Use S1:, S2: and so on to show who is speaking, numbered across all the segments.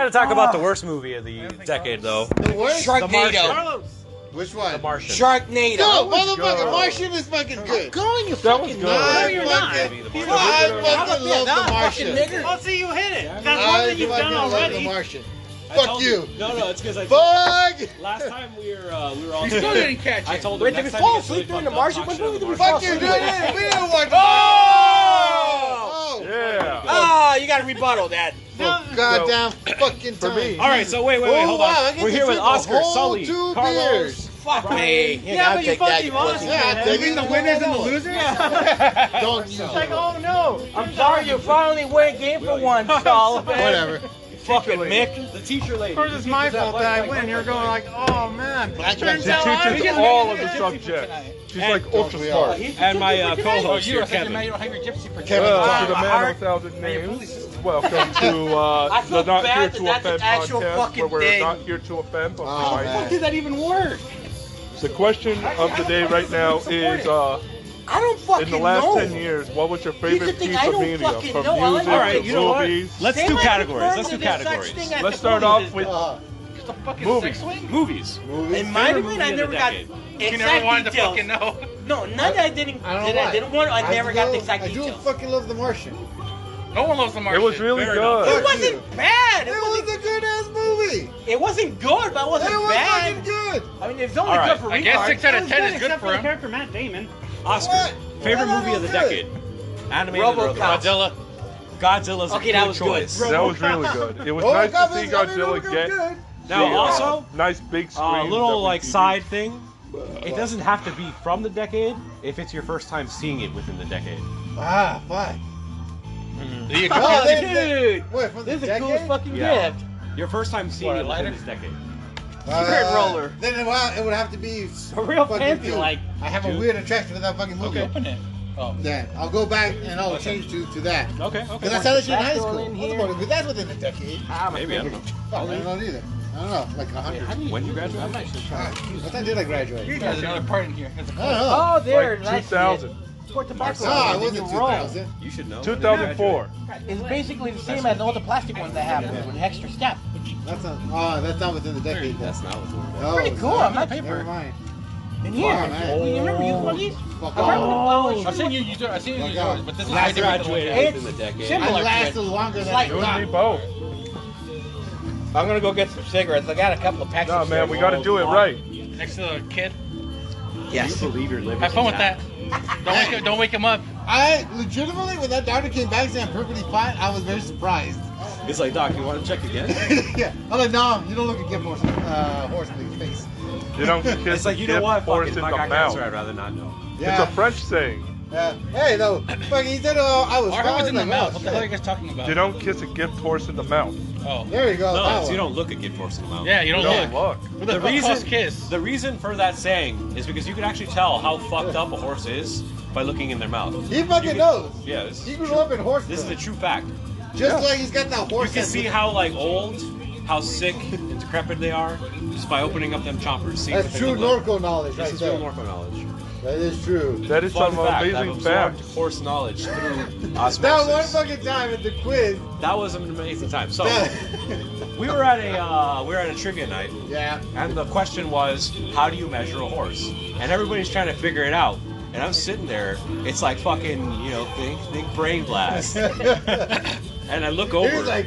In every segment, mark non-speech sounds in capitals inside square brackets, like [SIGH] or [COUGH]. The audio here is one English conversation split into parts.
S1: Gotta talk about
S2: Ah.
S1: the worst movie of the decade, though.
S2: Sharknado.
S3: Which one?
S1: The Martian.
S2: Sharknado.
S3: No, motherfucker, Martian is fucking good.
S2: Going you
S4: That was
S2: fucking
S4: good.
S2: nut.
S4: No,
S3: I
S4: you're
S3: fucking,
S1: not.
S3: I
S2: I'm a
S3: fucking love
S2: Vietnam
S3: the
S2: fucking
S3: Martian.
S2: nigger.
S5: Well, see, you hit it. That's one
S3: I
S5: thing
S3: fucking
S5: you've done
S3: love the
S5: already.
S3: Martian.
S6: I
S3: Fuck
S6: told
S3: you.
S6: No, no, it's because I.
S3: Fuck.
S6: Last time we were uh, we were all.
S4: You still didn't catch
S6: I
S4: it.
S6: told him.
S2: Wait, did
S6: next
S2: we
S6: time
S2: fall
S6: you get really
S2: asleep during the
S6: fucked up,
S2: Martian?
S6: talk
S2: What
S6: shit on
S2: movie
S6: the
S2: did we
S6: Martian.
S2: fall
S3: Fuck you. We
S2: asleep during?
S3: didn't, we didn't watch the
S2: Oh!
S3: Martian. Oh.
S4: Yeah.
S2: Ah, you gotta rebuttal that.
S3: for Goddamn fucking
S4: For
S3: time.
S4: me.
S6: All right, so wait, wait, wait,
S3: Oh,
S6: hold
S3: wow, I
S6: on.
S3: get
S6: We're
S3: to
S6: here with
S3: drink a
S6: Oscar,
S3: whole
S6: Sully,
S3: two
S6: Carlos.
S2: [LAUGHS]
S3: beers.
S2: Fuck me.
S5: Yeah,
S2: I'll
S5: but you
S2: take that,
S5: fucking lost.
S2: pussy.
S3: Yeah,
S5: man.
S3: take
S5: It's
S3: it.
S4: The winners and the losers?
S3: Don't use
S5: like,
S3: it.
S5: oh no.
S2: I'm sorry you finally went game for one, Sullivan.
S3: Whatever.
S2: Fucking Mick.
S6: The teacher lady.
S7: Of course, it's my fault that I win. You're going like, oh man.
S3: Black
S7: Turns
S4: She
S3: Panther.
S7: out I
S4: teaches
S7: win.
S4: all of the subjects. She's like ultra
S3: we all?
S4: smart.
S6: And my uh,
S2: Oh,
S6: co-host
S4: you
S6: here,
S4: were thinking
S6: Kevin.
S3: Kevin
S4: Well, to the
S3: Todd.
S4: man of a thousand names, welcome to uh,
S2: I
S4: the
S2: feel
S4: Not
S2: bad that that's
S4: Here to
S2: an
S4: Offend
S2: actual
S4: podcast,
S2: fucking
S4: where we're
S2: thing.
S4: not here to offend. but
S3: Oh,
S4: we might.
S3: man.
S2: that even work?
S4: The question of the day right now is: uh,
S2: I don't fucking
S4: In the last
S2: know.
S4: ten years, what was your favorite
S2: could think
S4: piece
S2: I
S4: of
S2: don't
S4: media, from
S2: fucking
S4: music
S2: know. I like-
S4: to
S2: All right,
S6: you know what?
S4: movies?
S6: Let's
S2: They
S6: do
S2: might
S6: categories.
S2: confirm
S6: Let's do
S2: that there's such
S6: categories.
S2: thing as
S4: Let's
S2: the
S4: start
S2: bully
S4: off
S2: that-
S4: with
S3: Uh,
S4: movies.
S6: Movies.
S3: movies.
S2: In my
S6: favorite
S2: opinion,
S6: movie
S2: I
S6: of
S2: never
S6: the
S2: got
S6: decade.
S2: exact
S7: You never wanted to
S2: details.
S7: fucking know.
S2: No, none that I didn't.
S3: I don't
S2: that
S3: know
S2: I
S3: why.
S2: didn't want. I never
S3: do
S2: got
S3: love-
S2: the exact
S3: I do
S2: details.
S3: fucking love The Martian.
S7: No one loves the
S4: It
S7: Martian.
S4: was really
S6: Fair enough.
S2: It
S4: good.
S3: Fuck
S2: wasn't bad.
S3: It
S2: It
S3: was
S2: wasn't.
S3: a good ass movie.
S2: It wasn't good, but it
S3: It
S2: wasn't
S3: was
S2: bad.
S3: fucking good.
S2: I mean, it's only
S6: All right,
S2: good for
S7: I guess
S2: retards.
S7: six out
S5: It
S7: of
S5: was
S7: ten is
S5: good,
S7: good
S5: except
S7: for
S5: the
S7: him.
S5: character Matt Damon.
S3: What?
S6: Oscar. Favorite
S3: What?
S6: movie of the
S3: What?
S6: decade. Animated or
S2: RoboCop.
S6: otherwise. Godzilla's a
S2: Okay, that
S6: good
S2: was good.
S6: choice.
S4: That was really good. It was
S3: Oh,
S4: nice
S3: God,
S4: to see
S3: I mean,
S4: Godzilla
S3: it was
S4: get
S3: good.
S6: Now
S4: the, uh,
S6: also,
S4: nice big
S6: a
S4: screen.
S6: little like
S4: WTV.
S6: side thing. It doesn't have to be from the decade if it's your first time seeing it within the decade.
S3: Ah, fuck.
S7: You
S3: Oh, they- they-
S2: Dude,
S3: Wait, from the
S2: Mm. this is the
S3: decade?
S2: coolest fucking
S6: Yeah.
S2: gift.
S6: Your first time seeing
S2: What, a
S6: it within
S2: lighter?
S6: this decade.
S3: Uh,
S2: Spirit roller.
S3: Then it, wa- it would have to be s-
S2: A real
S3: fucking
S2: pansy,
S3: dude.
S2: like.
S3: I have a
S6: dude.
S3: weird attraction to that fucking movie.
S6: Okay.
S2: Oh.
S3: Then I'll go back and I'll change to, to that.
S6: Okay.
S3: Because
S6: Okay.
S3: I saw that shit in
S2: That
S3: high
S2: girl
S3: school.
S2: in
S3: What's the
S2: here. Ah,
S3: movie? But that's within a decade.
S6: Maybe I don't know.
S3: Fuck, I don't know either. I don't know, like a hundred.
S6: When you graduate?
S3: What time did I graduate?
S7: There's another part in here. There's a
S3: I don't know.
S2: Oh, there.
S4: Like
S2: that's it.
S4: 2000.
S2: Port tobacco.
S3: No, I
S2: Then
S3: Ah, wasn't
S2: you're
S3: 2000.
S6: You should know.
S4: 2004.
S2: wrong. It's basically the same as all the plastic ones that have with an extra step.
S3: That's not. Oh, that's not within the decade. Then.
S6: That's not what's going on.
S3: Oh,
S2: Pretty cool. I'm not paper.
S3: Never mind.
S2: In here.
S3: Wow, man.
S2: You remember you one of these?
S3: Fuck
S2: I remember.
S3: off.
S2: Oh,
S7: I've seen you. you do- I've seen you.
S3: Like,
S7: do
S3: uh,
S7: yours, But this is
S3: last
S7: a different
S6: Graduated
S2: It's
S6: within the decade.
S2: similar.
S3: I
S2: to
S3: lasted
S2: it.
S3: longer than
S2: Like-
S3: I
S4: It would
S3: thought.
S4: be both.
S5: I'm gonna go get some cigarettes. I got a couple of packs.
S4: No, man, we got to do it right.
S7: one. Next to the kid.
S6: Do you believe you're living?
S7: Have
S6: in
S7: fun with that. Don't wake him. Don't wake him up.
S3: I legitimately, when that doctor came back saying I'm perfectly fine, I was very surprised. [LAUGHS]
S6: It's like, Doc, you want to check again?
S3: yeah, I'm like, no, you don't look a gift horse, uh, horse in the face.
S4: You don't kiss
S6: It's like, you
S4: a
S6: know what? Fuck
S4: horse
S6: it.
S4: in
S6: If
S4: the
S6: I got
S4: mouth.
S6: cancer, I'd rather not know.
S3: Yeah.
S4: It's a French saying.
S3: Yeah. Hey, no, fuck, he said uh, I was
S7: Our
S3: fine.
S7: was in the
S3: like,
S7: mouth.
S3: oh,
S7: What the hell are you
S3: shit.
S7: guys talking about?
S4: You don't kiss a gift horse in the mouth.
S7: Oh.
S3: There you go. that
S6: No, it's
S3: one.
S6: you don't look a gift horse in the mouth.
S7: Yeah, you
S4: You
S7: don't
S4: don't
S7: look.
S4: look.
S7: With [LAUGHS] a
S6: The
S7: big
S6: reason,
S7: ass kiss.
S6: the reason for that saying is because you can actually tell how fucked up a horse is by looking in their mouth.
S3: He fucking
S6: You can-
S3: knows.
S6: Yeah, this,
S3: He grew up in horse.
S6: this is a
S3: milk.
S6: true fact.
S3: just
S4: yeah.
S3: like he's got that
S6: You
S3: horse.
S6: can
S3: that's-
S6: see how like old, how sick and decrepit they are just by opening up them chompers. See what
S3: That's
S6: they
S3: true
S6: look like.
S3: Norco knowledge,
S6: This
S3: right
S6: is
S3: there.
S6: real Norco knowledge.
S3: that is true.
S4: That is
S6: Fun
S4: some
S6: fact, I've
S4: amazing
S6: absorbed
S4: facts.
S6: horse knowledge through osmosis.
S3: [LAUGHS] That one fucking time at the quiz.
S6: That was an amazing time. So
S3: that-
S6: we were at a uh, we were at a trivia night,
S3: [LAUGHS] yeah.
S6: and the question was, how do you measure a horse? And everybody's trying to figure it out. And I'm sitting there, it's like fucking, you know, think, think brain
S3: [LAUGHS]
S6: blast. and I look over,
S3: He was like,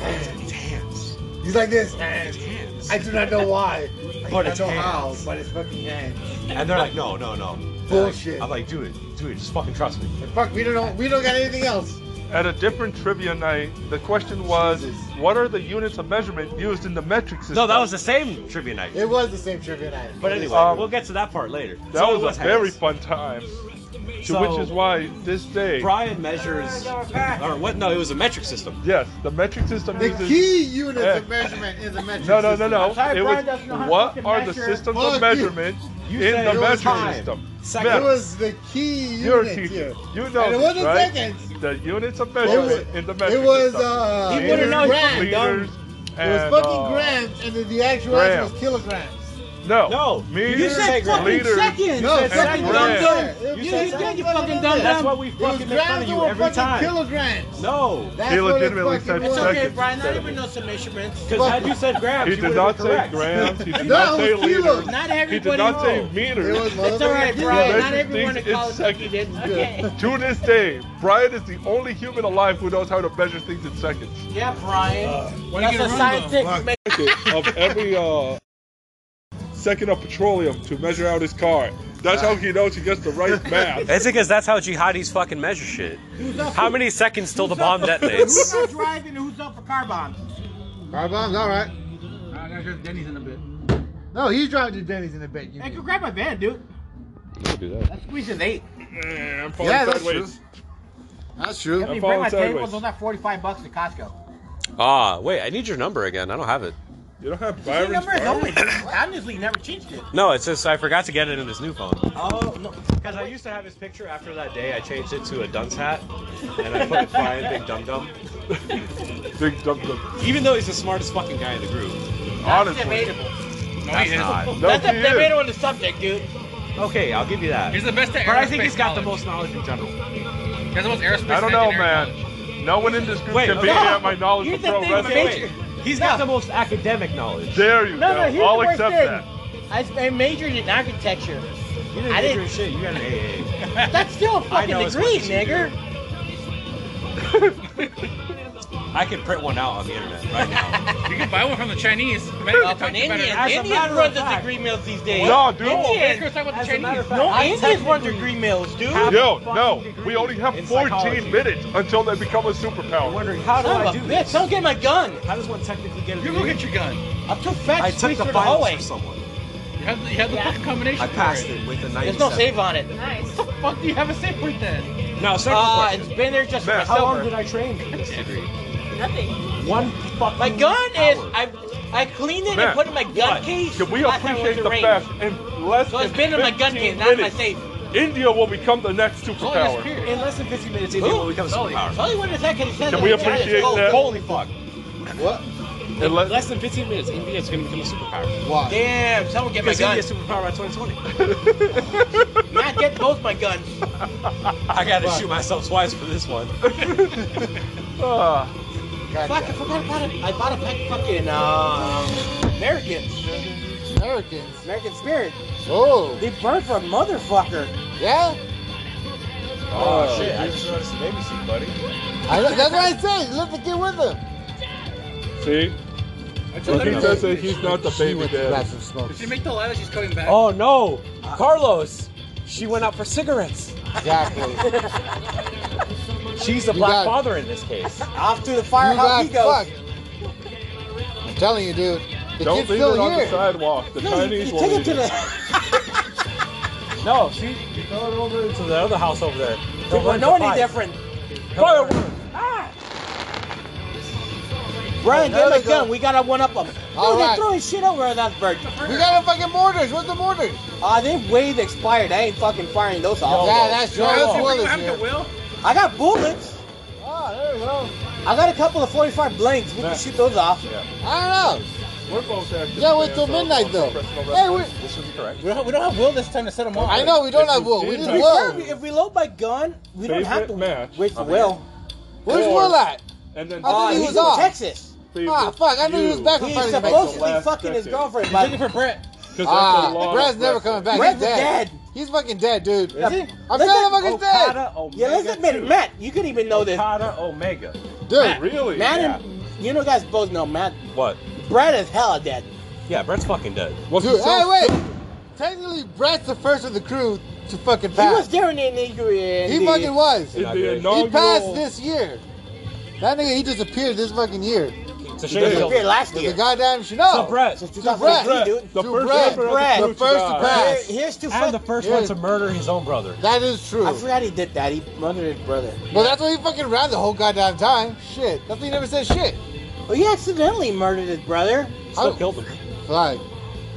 S6: it's hands,
S3: he's like this.
S6: it's hands.
S3: I do not know why.
S6: But
S3: I
S6: it's
S3: don't know
S6: hands.
S3: how, but it's fucking hands.
S6: and they're like, no, no, no. They're like-
S3: Bullshit.
S6: I'm like, do it, do it, just fucking trust me.
S3: And fuck, we don't know, we don't got anything else.
S4: At a different trivia night, the question was,
S3: Jesus.
S4: what are the units of measurement used in the metric system?
S6: No, that was the same trivia night.
S3: It was the same trivia night.
S6: But anyway,
S4: Um,
S6: we'll get to that part later.
S4: That
S6: So it
S4: was, a very
S6: hands.
S4: fun time. To
S6: So-
S4: which is why this day,
S6: Brian measures, or what? No, it was a metric system.
S4: yes, the metric system
S3: the
S4: uses.
S3: key unit
S4: Yeah.
S3: of measurement is the metric
S4: no, no, no,
S3: system.
S4: no.
S2: sorry,
S4: It
S2: Brian
S4: was
S2: doesn't know how to
S4: what
S2: fucking
S4: are the
S2: measure.
S4: systems
S3: Fuck you.
S4: of measurement
S6: You
S4: in
S6: said
S4: the
S6: it was
S4: metric
S6: time.
S4: system?
S6: Second.
S3: It was the key
S4: You're
S3: unit
S4: a
S3: here.
S4: teacher. You know
S3: And it
S4: this,
S3: wasn't
S4: right?
S3: seconds.
S4: The units of
S3: It was,
S4: measurement in the metric
S3: it was,
S4: system.
S3: uh,
S2: He
S3: it
S2: would've
S3: was
S2: known.
S3: grams.
S4: liters,
S3: It was
S4: and,
S3: fucking
S4: uh,
S3: grams, and then the actual answer was kilograms.
S4: No.
S6: No,
S4: Me,
S6: you said fucking
S4: leader,
S2: second.
S3: No,
S4: and
S3: it's fucking dumb
S4: Brad.
S3: dumb.
S2: You- you
S3: said
S2: did,
S3: something
S2: you
S3: funny
S2: fucking
S3: about
S2: dumb
S3: that.
S6: That's why we
S3: It was
S6: fucking make fun
S3: grams
S6: of you
S3: over
S6: every
S3: fucking
S6: time.
S3: Kilograms.
S6: No,
S3: That's
S4: He
S3: what it
S4: legitimately
S3: fucking
S4: said
S3: was.
S2: It's okay,
S4: Second.
S2: Brian. Not even no submission rants.
S6: because had you said grabs,
S4: He
S6: you
S4: did
S6: would've
S4: not
S6: been
S4: say
S6: correct.
S4: grams. [LAUGHS] He did
S3: No,
S4: not
S3: it
S4: say
S3: was kilos.
S2: Not
S4: leaders. He did not
S2: everybody.
S4: say meters.
S3: It was
S2: It's all right,
S3: motherfucking
S2: Brian. Not
S4: Measure
S2: everyone in
S4: things in
S2: college
S4: seconds.
S2: did. Okay.
S4: To this day, Brian is the only human alive who knows how to measure things in seconds.
S2: Yeah, Brian.
S7: When
S2: That's
S7: you
S2: a
S7: get a run, though.
S2: scientific. me-
S4: of every uh, second of petroleum to measure out his car. That's how he knows he gets the right [LAUGHS] math.
S8: It's because that's how jihadis fucking measure shit. How many seconds till the bomb
S2: Who's [LAUGHS]
S8: detonates?
S2: not driving and who's up for car bombs?
S3: Car bombs, all right.
S7: I gotta go to Denny's in a bit.
S3: No, he's driving to Denny's in the bit. You
S2: Hey,
S3: mean.
S2: go grab my van, dude. I'm squeezing eight.
S4: I'm falling
S3: Yeah, that's true.
S4: sideways.
S3: That's true.
S2: If you
S4: falling
S2: bring my table,
S4: sideways.
S2: those are forty-five bucks to Costco.
S8: Ah, wait, I need your number again. I don't have it.
S4: You don't have
S2: The
S4: Byron's
S2: number is
S4: car?
S2: always. Honestly, never changed it.
S8: No, it's just I forgot to get it in this new phone.
S2: Oh no.
S6: Because I used to have his picture after that day, I changed it to a dunce hat, and I put Brian Big Dum Dum.
S4: Big dump dump.
S6: Even though he's the smartest fucking guy in the group.
S4: Honestly.
S2: Debatable.
S7: No, he is.
S6: not.
S4: No,
S2: That's a
S4: he
S2: debate
S4: is.
S2: on the subject, dude.
S6: Okay, I'll give you that.
S7: He's the best at
S6: But I think
S7: aerospace
S6: he's got the
S7: knowledge.
S6: most knowledge in general.
S7: He has the most aerospace.
S4: I don't know,
S7: engineering knowledge.
S4: man. No one in this group
S6: Wait,
S4: can beat me
S6: no.
S4: at my knowledge
S2: Here's
S4: of
S2: the
S4: pro
S2: thing,
S4: wrestling.
S2: major.
S6: He's got the most academic knowledge.
S4: There you
S2: No, no,
S4: go.
S2: here's
S4: I'll
S2: the worst
S4: accept
S2: thing.
S4: that.
S2: I, I majored in architecture.
S6: You didn't major
S2: I didn't-
S6: in shit. You got an AA.
S2: That's [LAUGHS] still a
S6: I
S2: fucking
S6: know as much
S2: degree,
S6: as you
S2: nigger.
S6: I could print one out on the internet right now.
S7: You can buy one from the Chinese. Man,
S2: Up in Indian.
S6: As a
S2: Indians
S6: matter
S2: run
S6: of
S2: the
S6: fact-
S2: degree mills these days.
S4: No, dude.
S7: Let's go
S2: Indians.
S7: talk about the
S6: As a matter
S7: Chinese.
S6: of fact,
S2: No,
S6: I
S2: Indians run
S6: technically
S2: degree mills, dude.
S6: have a
S4: Yo,
S6: fucking
S4: no.
S6: degree
S4: We only have
S6: in
S4: 14
S6: psychology.
S4: minutes until they become a
S6: I'm
S4: superpower.
S6: wondering how do I
S2: Son of a
S6: do
S2: bitch,
S6: this?
S2: don't get my gun.
S6: How does one technically get a
S7: You go
S6: degree?
S7: get your gun.
S2: I'm too fat
S6: I
S2: to
S6: took
S2: squeeze
S6: the
S2: through the
S6: finals
S2: hallway.
S6: from someone.
S7: You have the, you have the fucking combination.
S6: I
S7: for
S6: passed
S7: it.
S6: it with a 97.
S2: There's no save on it.
S9: Nice.
S7: What the fuck do you have a safe word then?
S6: Now, second
S2: Uh,
S6: question.
S2: it's been there just for
S4: Man,
S2: my
S6: How long
S2: silver.
S6: did I train for this degree?
S9: Nothing.
S6: One fucking
S2: My gun is
S6: hour.
S2: I I cleaned it
S4: Man,
S2: and put it in my gun
S6: what?
S2: case.
S4: Can we
S2: last time I
S4: appreciate
S2: went to
S4: the
S2: range.
S4: fact in less
S2: So
S4: than
S2: it's been in my gun
S4: 15
S2: case, not in my
S4: minutes,
S2: safe.
S4: India will become the next
S7: It's only this
S4: superpower.
S7: period.
S6: In less than 15 minutes, India
S2: Who?
S6: will become a
S7: Solid.
S2: It's
S6: superpower.
S2: only when the second it says
S4: Can
S2: it,
S4: we
S2: it's
S4: appreciate
S2: cold.
S4: that?
S6: Holy fuck.
S3: What?
S4: In le-
S6: In less than 15 minutes, India is going to become a superpower.
S3: Why?
S2: Damn, someone get my
S6: Because
S2: gun.
S6: India is superpower by 2020.
S2: Not get both my guns.
S6: I got to shoot myself twice for this one.
S4: [LAUGHS] Ah.
S2: Fuck, I forgot about it. I bought a pack of fucking uh, Americans.
S3: Americans.
S2: American Spirit.
S3: Oh,
S2: They burned for a motherfucker.
S3: yeah.
S6: Oh, shit. I just noticed the baby seat, buddy.
S3: I, that's what I said. Let the kid with him.
S4: See? So he says that he's not the
S3: She
S4: baby
S3: went to
S4: dad.
S3: grab some smoke.
S7: Did you make the lie that she's coming back?
S6: [LAUGHS] Oh, no. Carlos. She went out for cigarettes.
S2: [LAUGHS]
S3: Exactly.
S6: She's the
S3: You black got
S6: black
S3: it.
S6: father in this case.
S2: Off to the fire,
S3: You
S2: how
S3: got
S2: he goes.
S3: fucked. I'm telling you, dude. The
S4: Don't
S3: kid's
S4: leave it
S3: still
S4: on the
S3: here.
S4: sidewalk. The
S2: No, you,
S4: Chinese
S2: you
S4: will
S2: take
S4: leave
S2: it
S4: it.
S2: to the.
S6: No, she you throw it over to the other house over there.
S2: They were no any different.
S6: Fireworks.
S2: Brian,
S3: There
S2: get my
S3: we go.
S2: gun. We gotta one up them.
S3: All
S2: Dude,
S3: right.
S2: they throw his shit over at that bird.
S3: We got a fucking mortars. What's the mortars?
S2: Ah, they way expired. I ain't fucking firing those off.
S3: yeah, that's true.
S7: What
S3: That's
S7: happened
S3: spoilers
S7: to
S3: here.
S7: Will?
S2: I got bullets.
S3: Oh, there we go.
S2: I got a couple of 45 blanks. We can shoot those off.
S3: I don't know.
S4: We're both active.
S3: Yeah, wait till
S4: fans of
S3: midnight, though.
S4: professional
S3: Hey, we-
S4: wrestling. This would be correct.
S2: We don't, we don't have Will this time to set him off.
S3: I know we don't
S4: If
S3: have
S4: you
S3: Will. We
S4: did
S3: need
S2: To be fair,
S3: Will.
S2: if we- if we load by gun, we don't have
S4: Favorite
S2: to
S4: match
S2: wait for
S4: of
S2: Will.
S3: Where's
S4: Or-
S3: Will at?
S4: And then
S3: I
S2: Uh,
S3: thought he
S2: he's
S3: was
S2: in
S3: off.
S2: Texas.
S3: Ah, fuck. I knew he was back on
S2: He's
S3: Friday night.
S4: supposed-
S2: supposedly
S4: last
S2: fucking his
S4: decade.
S2: girlfriend,
S7: He's
S2: but
S7: looking for Brett.
S3: Ah, Brad's never coming back.
S2: Brad's
S3: He's dead.
S2: dead.
S3: He's fucking dead, dude.
S2: Is he?
S3: I'm
S2: Let's Oh,
S3: telling
S2: not-
S3: him he's dead.
S2: yeah, let's admit it, Matt. You could even know this.
S6: Okada Omega.
S3: Dude,
S4: Really?
S2: Matt and you know, guys both know Matt.
S6: What?
S2: Brad is hella dead.
S6: Yeah, Brett's fucking dead.
S3: Dude, hey, wait. Technically, Brad's the first of the crew to fucking
S2: He was
S3: pass.
S2: there in the injury. in
S3: He
S2: the-
S3: fucking was. He
S4: In
S6: Not
S4: the
S6: great.
S4: inaugural,
S3: passed this year. That nigga, he disappeared this fucking year.
S6: It's a
S4: shame.
S6: shame.
S2: disappeared last
S3: The
S2: year.
S3: goddamn Chanel.
S6: So Brett,
S2: Since
S3: Brad.
S2: 2003, dude.
S4: the
S3: To
S4: first
S3: Brad.
S4: member of
S2: Brad.
S4: crew
S3: The first to
S4: die.
S3: pass.
S2: Here- here's to
S6: and
S2: fuck.
S6: the first
S3: Yeah.
S6: one to murder his own brother.
S3: That is true.
S2: I forgot he did that. He murdered his brother.
S3: Well, that's why he fucking ran the whole goddamn time. Shit. That's why he never said shit.
S2: Well, Oh, he accidentally murdered his brother.
S6: Still
S3: I-
S6: killed him.
S3: Like,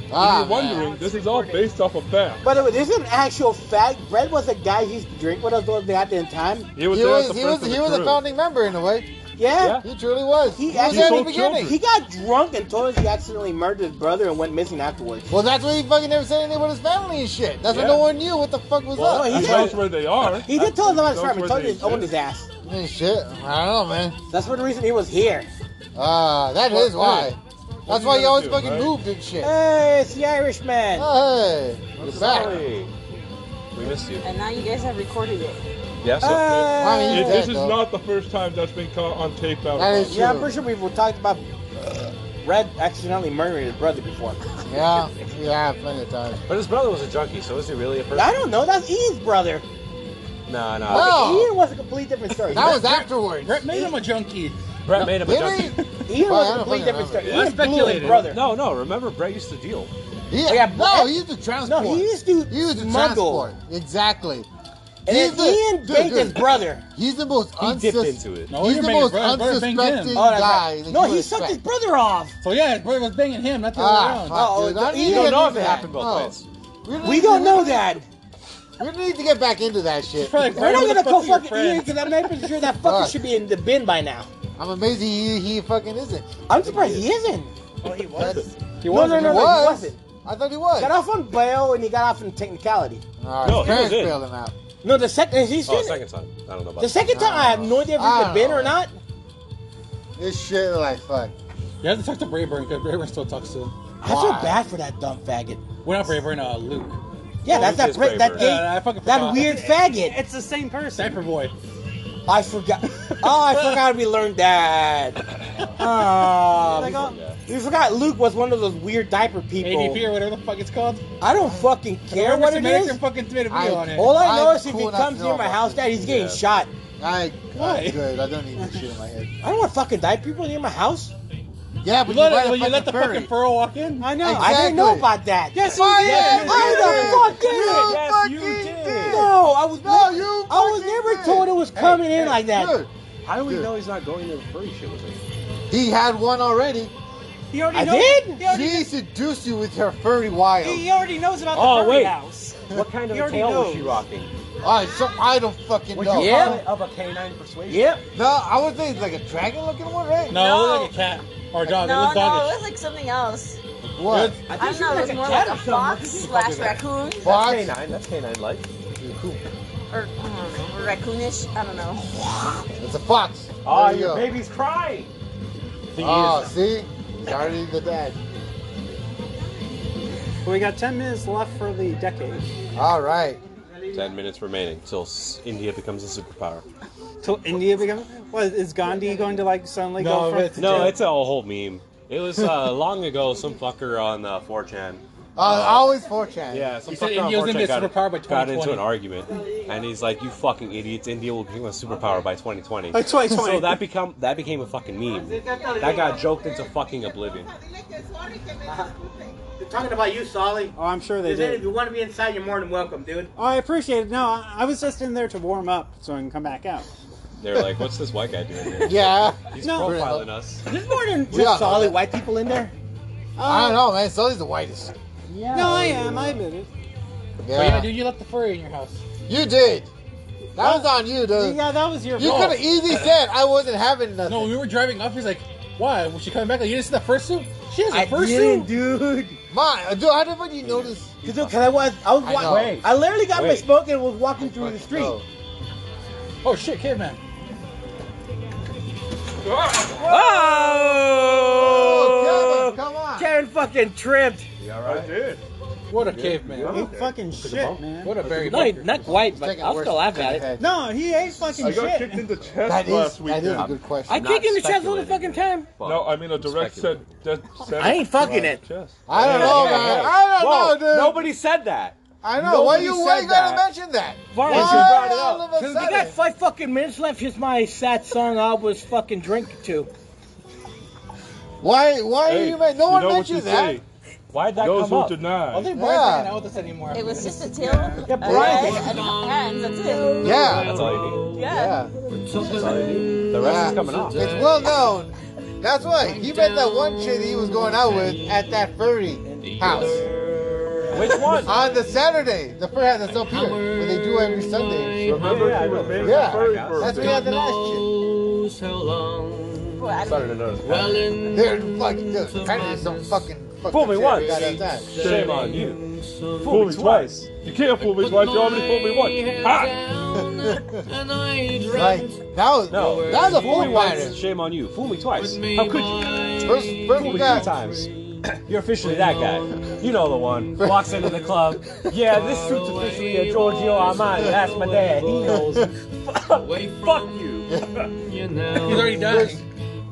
S4: If
S3: ah,
S4: you're wondering, this is all based off of fact.
S2: But it is an actual fact. Brad was the guy he used to drink with us those at the time.
S4: He
S3: man.
S4: was
S3: He
S4: there at
S3: was
S4: the
S3: he
S4: first
S3: was
S4: of the
S3: he was a
S4: crew.
S3: founding member in a way.
S2: Yeah.
S3: He truly was.
S2: He,
S3: was
S2: actually,
S3: there in
S4: sold
S3: the beginning.
S4: children.
S2: he got drunk and told us he accidentally murdered his brother and went missing afterwards.
S3: Well, that's why he fucking never said anything about his family and shit. That's why
S4: Yeah.
S3: no one knew what the fuck was
S2: Well,
S3: up.
S2: he-
S4: He knows where they are.
S2: He did tell us about his
S4: Those
S2: farm. He
S4: were
S2: told
S4: the
S2: us he owned his
S4: exact-
S2: ass.
S3: Hmm, shit, I don't know, man.
S2: That's for the reason he was here.
S3: Ah, that
S4: Well,
S3: is why. That's
S4: you
S3: why you
S4: gonna
S3: always
S4: do,
S3: fucking
S4: right?
S3: moved and shit.
S2: Hey, it's the Irishman.
S3: Oh, hey, you're back.
S5: We missed you.
S10: And now you guys have recorded it.
S5: Yes.
S6: Uh,
S3: I mean,
S2: Hey.
S3: you
S4: It-
S3: dead,
S4: this is
S3: though.
S4: not the first time that's been caught on tape out.
S3: That is-
S2: Yeah, I'm pretty sure we've talked about Red accidentally murdering his brother before.
S3: Yeah, yeah, plenty of times.
S6: But his brother was a junkie, so is he really a person?
S2: I don't know. That's Ian's brother.
S6: No, no.
S2: Uh,
S3: What? Oh.
S2: Ian was a completely different story.
S3: That was afterwards.
S7: Brett made him a junkie.
S6: Brett made him a
S3: Did
S6: junkie.
S3: he?
S2: Ian
S3: Well, I
S2: was a
S3: don't
S2: completely different
S3: fucking
S2: story.
S7: remember.
S2: Ian blew his
S7: Speculated.
S2: brother.
S6: No, no. Remember, Brett used to deal.
S3: Yeah.
S2: Yeah,
S3: no,
S2: but-
S3: he used to transport.
S2: No, he used to
S3: He used to
S2: smuggle.
S3: transport. Exactly.
S2: And
S3: He's
S2: then
S3: the-
S2: Ian
S3: dude,
S2: banged his
S3: dude.
S2: brother.
S3: He's the most
S6: He dipped
S3: unsus-
S6: into it.
S7: No,
S3: He's
S7: you're
S3: the
S7: banging
S3: most
S7: brother. Brother banged him.
S3: unsuspecting
S2: Oh, that's
S3: guy.
S2: right.
S3: that
S2: No,
S3: you
S2: he sucked his
S3: expect.
S2: brother off.
S7: So yeah, his brother was banging him, not the other way
S3: Ah,
S7: around.
S2: Oh,
S3: fuck, dude. I
S2: the-
S3: need
S2: you
S3: to
S2: don't
S3: get
S2: know
S3: into
S2: if
S3: that.
S2: it
S3: Oh.
S6: happened both
S3: No.
S6: ways.
S3: really
S2: We
S3: need
S2: don't
S3: to-
S2: know that.
S3: We need to get back into that shit.
S7: Probably
S2: We're not
S7: Brett
S2: gonna
S7: was
S2: go
S7: fucking your
S2: fucking
S7: friend.
S2: Ian because I'm not even sure that
S3: Fuck.
S2: fucker should be in the bin by now.
S3: I'm amazed he, he fucking isn't.
S2: I'm surprised he isn't.
S3: Oh, he was.
S7: He
S2: No, no,
S7: wasn't.
S2: no, no, he
S3: was.
S2: wasn't.
S3: I thought he
S2: He Got
S3: was.
S2: off on bail and he got off in technicality.
S3: All right,
S6: No,
S3: his
S6: he was
S3: parents
S6: in.
S3: bailed him out.
S2: No, the second he's
S6: Oh,
S2: in-
S6: second time. I don't know about
S2: The second time, I have no idea if
S3: I
S2: he's
S3: don't
S2: in the bin
S3: know.
S2: or not.
S3: This shit like fuck.
S7: You have to talk to Brayburn because Brayburn still talks to him.
S2: I feel
S3: Why?
S2: bad for that dumb faggot.
S7: We're not Brayburn, uh, Luke.
S2: Yeah,
S6: Well,
S2: that's that
S6: he's
S2: bra- that
S6: braver.
S2: gay,
S7: Yeah, I fucking
S2: that
S7: forgot.
S2: weird faggot.
S11: It's the same person.
S7: Diaper boy.
S3: [LAUGHS]
S2: I forgot. Oh, I forgot we learned that. Oh, we, for- we forgot Luke was one of those weird diaper people.
S7: ADP or whatever the fuck it's called.
S2: I don't fucking care
S7: Whatever
S2: what it
S7: American
S2: is.
S7: fucking tomato
S3: I-
S7: meal on it.
S2: All I know
S3: I'm
S2: is if
S3: cool
S2: he
S3: not
S2: comes
S3: to
S2: near
S3: know
S2: my
S3: about
S2: house,
S3: this.
S2: Dad, he's getting
S6: Yeah.
S2: shot.
S3: I,
S7: Why?
S3: I'm good. I don't need this shit in my head.
S2: I don't want fucking diaper people near my house.
S3: Yeah,
S7: You
S3: but you,
S7: let,
S3: let,
S7: it-
S3: a
S7: you let the fucking
S3: furry.
S7: furl walk in?
S2: I know. I didn't know
S3: Exactly.
S2: about that.
S6: Yes,
S3: Why
S6: he
S2: yeah,
S6: did.
S2: I
S3: you
S2: the fuck did it?
S6: Yes, you
S3: You fucking
S6: did.
S3: did.
S2: No, I was.
S3: No, you
S2: I was
S3: fucking
S2: never
S3: did.
S2: told it was coming in like that.
S3: Dude,
S6: How do we
S3: Dude.
S6: know he's not going to the furry shit with me?
S3: he had one already.
S11: He already
S2: I
S11: knows.
S2: did?
S11: He already,
S3: She seduced you with her furry wild.
S11: he already knows about the
S6: Oh,
S11: furry
S6: wait.
S11: house.
S6: What kind of
S11: He
S6: a
S11: already
S6: tail was she
S11: knows.
S6: rocking?
S3: I, so, I don't fucking
S6: Would
S3: know.
S6: you
S2: Yeah.
S6: call it of a canine persuasion?
S2: Yep.
S3: No, I would say it's like a dragon looking one, right?
S7: No, it
S11: No.
S7: looked like a cat. Or a dog. it
S10: No,
S7: looked
S10: no, it
S7: doggish.
S10: was like something else.
S3: What?
S10: I don't know, it was more like a fox slash raccoon.
S6: That's
S3: Fox?
S6: canine. That's canine like.
S10: Or, I don't know, raccoonish. I don't know.
S3: It's a fox.
S6: Oh,
S3: There you
S6: your
S3: go.
S6: baby's crying.
S3: Oh, see? He's already the dad.
S11: We got 10 minutes left for the decade.
S3: All right.
S6: Ten minutes remaining till s- India becomes a superpower.
S11: Till India becomes. What is Gandhi going to like suddenly
S7: No,
S11: go
S12: [LAUGHS]
S7: but it's-
S11: from?
S6: No, it's a whole meme. It was uh, [LAUGHS] long ago. Some fucker on uh, 4chan.
S3: Uh, always 4chan.
S6: Yeah, some
S7: He said
S6: fucker on
S7: India's gonna
S6: 4chan
S7: be a
S6: got,
S7: superpower by
S6: got into
S7: 2020.
S6: an argument, and he's like, "You fucking idiots! India will become a superpower by 2020."
S11: By 2020.
S6: So that become that became a fucking meme. That got joked into fucking oblivion.
S2: They're talking about you, Solly.
S11: Oh, I'm sure they
S2: If
S11: did.
S2: you want to be inside, you're more than welcome, dude.
S11: Oh, I appreciate it. No, I, I was just in there to warm up so I can come back out.
S6: They're like, "What's this white guy doing
S3: [LAUGHS]
S6: here?
S3: Yeah.
S6: He's
S11: No.
S6: profiling us."
S2: There's more than just
S3: Yeah.
S2: Solly white people in there.
S3: I don't know, man. Sully's the whitest.
S2: Yeah.
S11: No, I am. I admit it.
S7: But yeah,
S3: Yeah.
S7: dude, you left the furry in your house.
S3: You did. That was on you, dude.
S11: Yeah, that was your
S3: You
S11: fault.
S3: could have easily said I wasn't having nothing.
S7: No, we were driving up. He's like, why? Was she coming back? Like, you didn't see the fursuit? She has a
S2: I
S7: fursuit.
S2: didn't, dude.
S3: My, dude, how the fuck you notice?
S2: Because I was, I was,
S3: I
S2: wa- I,
S3: know.
S2: literally got my
S6: Wait.
S2: smoke and was walking through the street.
S3: Oh.
S7: Oh shit, caveman.
S4: Ah,
S3: Oh, come on, come on.
S2: Karen fucking tripped.
S4: I did.
S7: What a caveman.
S2: He fucking shit, man.
S7: What a Barry
S2: No, he-
S7: Bunker.
S2: not quite,
S3: Taking
S2: but I'll
S3: worse
S2: still laugh at
S3: than
S2: it.
S3: had.
S2: No, he ain't fucking
S4: I got
S2: shit.
S4: kicked in the chest
S3: That is,
S4: last
S3: that
S4: weekend.
S3: is a good question.
S2: I
S3: I,
S2: kick in the chest all the fucking time.
S4: No, I mean a direct said. That, said
S2: I ain't fucking
S4: around
S2: it.
S4: the chest.
S3: don't know, man. I don't know, dude.
S6: Nobody said that.
S3: I know. Why
S6: nobody
S3: you
S6: said
S3: why you gotta
S6: that.
S3: mention that?
S2: Varnish,
S3: Why
S2: you
S6: brought it
S3: all
S6: up.
S3: of a
S2: Dude, we got
S3: sudden?
S2: five fucking minutes left. Here's my sad song I was fucking drinking to.
S3: [LAUGHS] Why? Why are
S4: Hey,
S3: you? ma- No
S4: you
S3: one
S4: know what
S3: mentioned
S4: you
S3: that.
S4: say.
S6: Why'd that
S4: Those
S6: come
S4: who
S6: up?
S7: I don't
S4: deny.
S7: think Brian's
S3: Yeah.
S7: hanging out with us anymore.
S10: It was just a tail. Yeah,
S2: Brian-
S10: Hands, that's it.
S3: Yeah.
S6: That's all you need.
S10: Yeah.
S3: Yeah.
S6: That's all you need. The rest
S3: Yeah.
S6: is coming off.
S3: It's well known. That's why he met that one chick that he was going out with at that furry house.
S6: Which one?
S3: On the Saturday, the fur hat that's up here, where they do every Sunday.
S4: Remember,
S6: Yeah,
S4: she
S6: I
S4: was
S6: know.
S4: made
S3: Yeah.
S4: furry
S3: That's
S4: for
S3: where you had the last shit.
S13: knows how long.
S10: Well, I don't-
S14: Starting to notice.
S13: Well, in
S3: They're fucking dude, Kanye is some fucking fucking
S6: Fool me
S3: shit.
S6: once.
S3: We got that time.
S6: Shame on you.
S4: Fool me twice. You can't fool me twice. You already fooled me once. Ah, Ha!
S13: and I
S3: Like
S13: dreamt
S3: that was
S6: No.
S3: that was a
S6: Fool
S3: fool
S6: me once.
S3: fighter.
S6: Shame on you. Fool me twice.
S13: with me
S6: How could you?
S3: First, first
S6: Fool me
S3: we
S6: three
S3: got
S6: times. [COUGHS] You're officially that guy. You know the one. Walks into the club. Yeah, this suit's officially a Giorgio Armani. That's my dad. He knows. Fuck you.
S13: you now.
S7: He's already dying.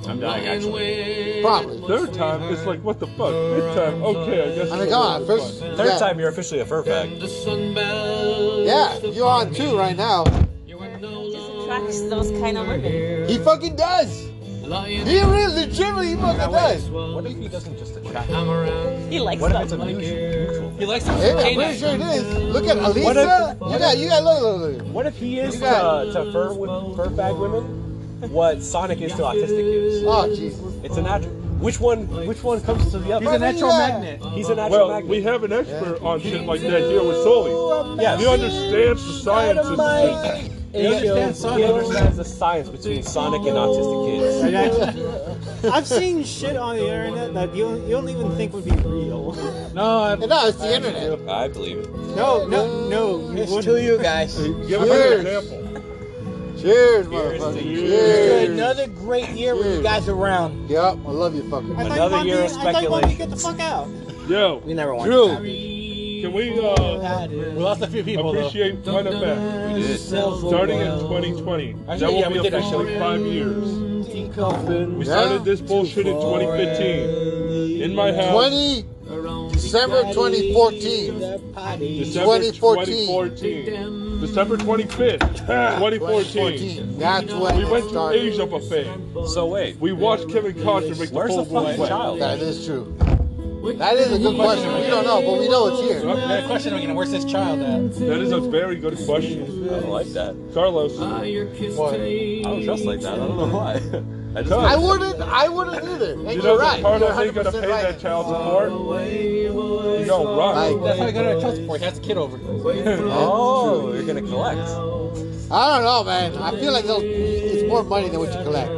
S15: I'm dying, actually.
S3: probably.
S4: Third time, it's like, what the fuck? Fifth time, okay, I guess.
S3: I
S4: it's
S3: mean, come on,
S4: over.
S3: Oh first.
S6: Third
S3: yeah.
S6: time, you're officially a furfag.
S13: The sun bells.
S3: Yeah, you're on two right now.
S13: You were no
S10: It just
S13: longer
S10: attracts those kind of women.
S13: here.
S3: He fucking does.
S13: Lying
S3: He really, legitimately, he fucking does.
S6: What if he doesn't just attract?
S13: I'm around.
S10: He likes
S6: What if
S10: that.
S6: it's a mutual?
S7: He likes to
S3: Yeah, I'm
S7: Hey,
S3: pretty sure it is. Look at
S6: What
S3: Alisa.
S6: if-
S3: You got, you got, look, look, look.
S6: What if he is
S3: You
S6: to,
S3: got-
S6: to fur, furfag women what Sonic is to autistic kids?
S3: Oh, Jesus.
S6: It's a natural. Which one? Which one comes to the
S7: He's
S6: other?
S7: a natural
S3: Yeah.
S7: magnet.
S6: He's a natural
S4: Well, we
S6: magnet.
S4: have an expert on shit like that here with Soli.
S6: Yes.
S4: He understands the science of this shit.
S6: Dynamite
S7: He understands
S6: is-
S7: Sonic.
S6: He understands the science between Sonic and autistic kids.
S12: I've seen shit on the internet that you don't, you don't even think would be [LAUGHS] real.
S7: No, I-
S3: No, it's the internet.
S6: I believe it.
S12: No, no, no. You
S16: It's
S12: wouldn't.
S16: to you guys.
S4: Give us an
S3: Cheers.
S4: example.
S3: Cheers, motherfucker.
S12: To
S3: Cheers.
S12: another great year with you
S3: Dude.
S12: guys around.
S3: Yep, I love you, fucking.
S12: I thought
S6: Another
S12: Bundy-
S6: year of
S12: I thought Bundy
S6: speculation.
S12: get the fuck out.
S4: Yo,
S12: We never won.
S3: Drew.
S4: can we uh,
S12: That is-
S7: we lost a few people though.
S4: appreciate Fun Effect
S13: We did.
S4: starting in 2020? That
S7: Actually,
S4: will
S7: yeah, we
S4: be
S7: did
S4: officially
S7: actually.
S4: five years.
S3: Yeah.
S4: We started this bullshit in 2015. In my house,
S3: 20, December 2014.
S12: The potty.
S4: December
S3: 2014.
S4: 2014. December 25th, 2014.
S3: 2014. That's when
S4: We
S3: it
S4: went to
S3: started.
S4: Asia buffet.
S6: So wait,
S4: We watched Kevin Costner make the
S6: where's the
S4: full
S6: fucking child?
S3: That is true. That is a good question. We don't know, but we know it's here.
S7: Another question again. Where's this child at?
S4: That is a very good question,
S6: I don't like that.
S4: Carlos.
S7: Uh,
S6: I don't dress like that. I don't know why. I [LAUGHS] just
S3: I wouldn't. I wouldn't either. And
S4: You know
S3: you're
S4: that
S3: right. You're
S4: Carlos
S3: 100
S4: ain't gonna
S3: percent
S4: pay
S3: right.
S4: that child support. You don't run.
S3: Like,
S7: That's how he got out of child support. He has a kid over.
S6: oh, you're gonna collect.
S3: I don't know, man. I feel like those, it's more money than what you collect.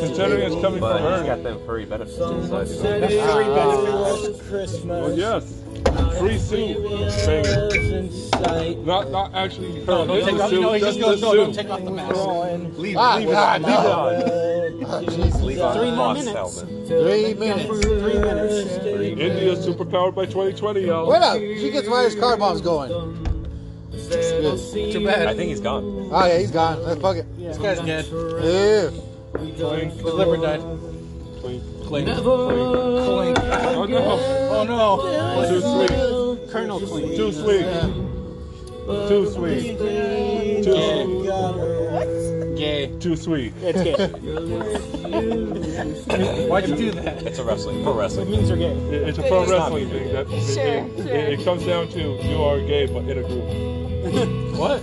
S4: Considering it's coming from
S6: But he's
S4: her.
S6: got them furry benefits. So I do know.
S12: The free benefits.
S4: Well,
S12: Christmas.
S4: yes. Free suit. Baby.
S12: was in sight.
S4: Not, not actually her.
S7: No, don't
S4: just
S7: take
S4: the
S7: off. No,
S4: suit.
S7: he
S4: Just the
S7: just goes. No, don't
S4: suit.
S7: take off the mask.
S12: Drawing.
S6: Leave,
S3: Ah,
S6: leave
S3: God,
S6: it on.
S3: leave
S6: [LAUGHS] Leave on
S12: Three
S6: the
S12: more
S6: boss
S12: minutes.
S6: helmet.
S3: Three minutes.
S12: Three minutes.
S4: India superpowered by 2020, y'all.
S3: What up? She gets where his car bomb's going. Good.
S7: Too
S6: I
S7: bad.
S6: think he's gone.
S3: Oh yeah, he's gone. Let's fuck it.
S7: This guy's dead. His
S3: Yeah.
S7: liver died. Clink. Clink.
S4: Oh no.
S7: Oh no.
S4: Too sweet.
S12: Colonel Clean.
S4: Too sweet. Too sweet. Too sweet.
S7: Gay.
S4: Too sweet.
S12: It's gay.
S7: Why'd you do that?
S6: It's a wrestling, pro
S12: It
S6: wrestling.
S12: means you're [LAUGHS] gay.
S4: It- It's a pro
S6: It's not
S4: wrestling thing. That, it,
S10: Sure,
S4: it,
S10: sure.
S4: it- it comes down to you are gay, but in a group.
S7: What?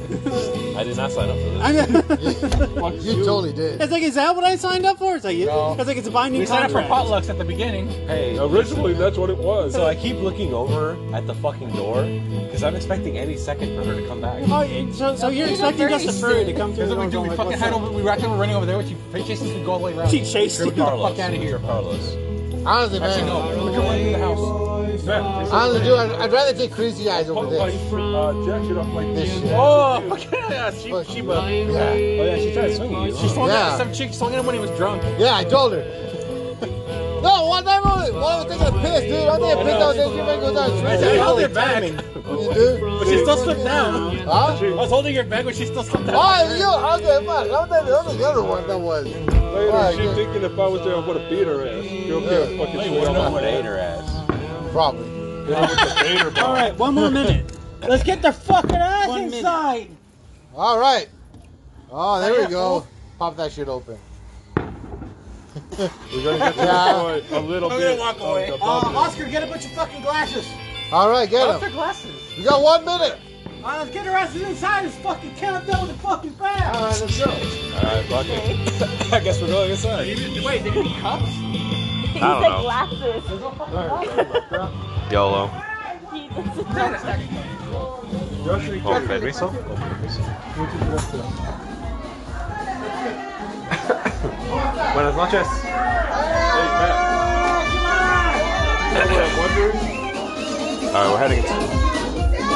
S6: I did not sign up for this.
S4: Fuck
S3: You totally did.
S12: [LAUGHS] It's like, is that what I signed up for? It's like, it's like it's a binding
S7: We signed up for
S12: contract.
S7: potlucks at the beginning.
S6: Hey,
S4: Originally, that's what it was.
S6: So I keep looking over at the fucking door because I'm expecting any second for her to come back.
S12: Oh, you- so, so you're
S10: You're
S12: expecting
S10: very
S12: just a furry to
S10: sick.
S12: come through
S7: Here's
S12: the
S7: what we do.
S12: door
S7: We
S12: and go,
S7: fucking
S12: "What's
S7: head
S12: up?"
S7: over. We rock over running over there with you. Chasing could go all the way around.
S12: She chased
S7: Get
S12: you.
S7: the fuck out of here.
S6: Carlos.
S3: Honestly,
S7: Actually,
S3: man.
S7: no. We can run through the house.
S3: Honestly, dude, I'd, I'd rather take crazy eyes over
S4: Put my
S3: this.
S4: uh, jacket up like
S3: This
S4: this.
S3: shit.
S7: Oh, fucking yeah, she,
S3: Fuck.
S7: Sheba.
S3: Yeah.
S6: Oh yeah, she tried to swing you.
S7: She swung
S3: Yeah.
S7: at some chick. Swung at him when he was drunk.
S3: Yeah, I told her. [LAUGHS] No, one time I was, one I was taking a piss, dude. One day I pissed out there, she might go down.
S7: I
S3: She
S7: said,
S3: said,
S7: held her back,
S3: "You dude."
S7: but she still slipped down.
S3: Huh?
S7: I was holding her back, but she still slipped down.
S3: Oh, you, I was like, fuck, how was that, that was the other one that was.
S4: Later, she
S3: yeah.
S4: thinking if I was there, I would have beat her ass. Girl can't fucking swing
S6: No
S4: on
S6: one
S4: my
S6: ate her ass.
S3: Probably.
S12: All right, one more minute. Let's get the fucking ass
S7: One minute.
S12: inside.
S3: All right. Oh, there we go. Pop that shit open.
S4: We're gonna get to
S3: Yeah.
S4: enjoy a little
S7: I'm
S4: bit.
S7: gonna walk
S4: of
S7: away.
S4: the
S12: Uh,
S2: Oh.
S4: bubble.
S12: Oscar, get a bunch of fucking glasses.
S3: All right, get
S12: Oscar,
S3: him.
S12: glasses.
S3: You got one minute.
S12: Uh, let's get her ass inside. Let's fucking count down with the fucking fast.
S2: Uh,
S3: All right, let's go.
S6: Alright, fuck it. [LAUGHS] I guess we're going inside.
S7: Wait, they need cups?
S10: He said
S6: don't know.
S10: glasses.
S6: YOLO.
S10: He doesn't know.
S6: Oh, Federico?
S1: Buenas noches. All right, we're heading.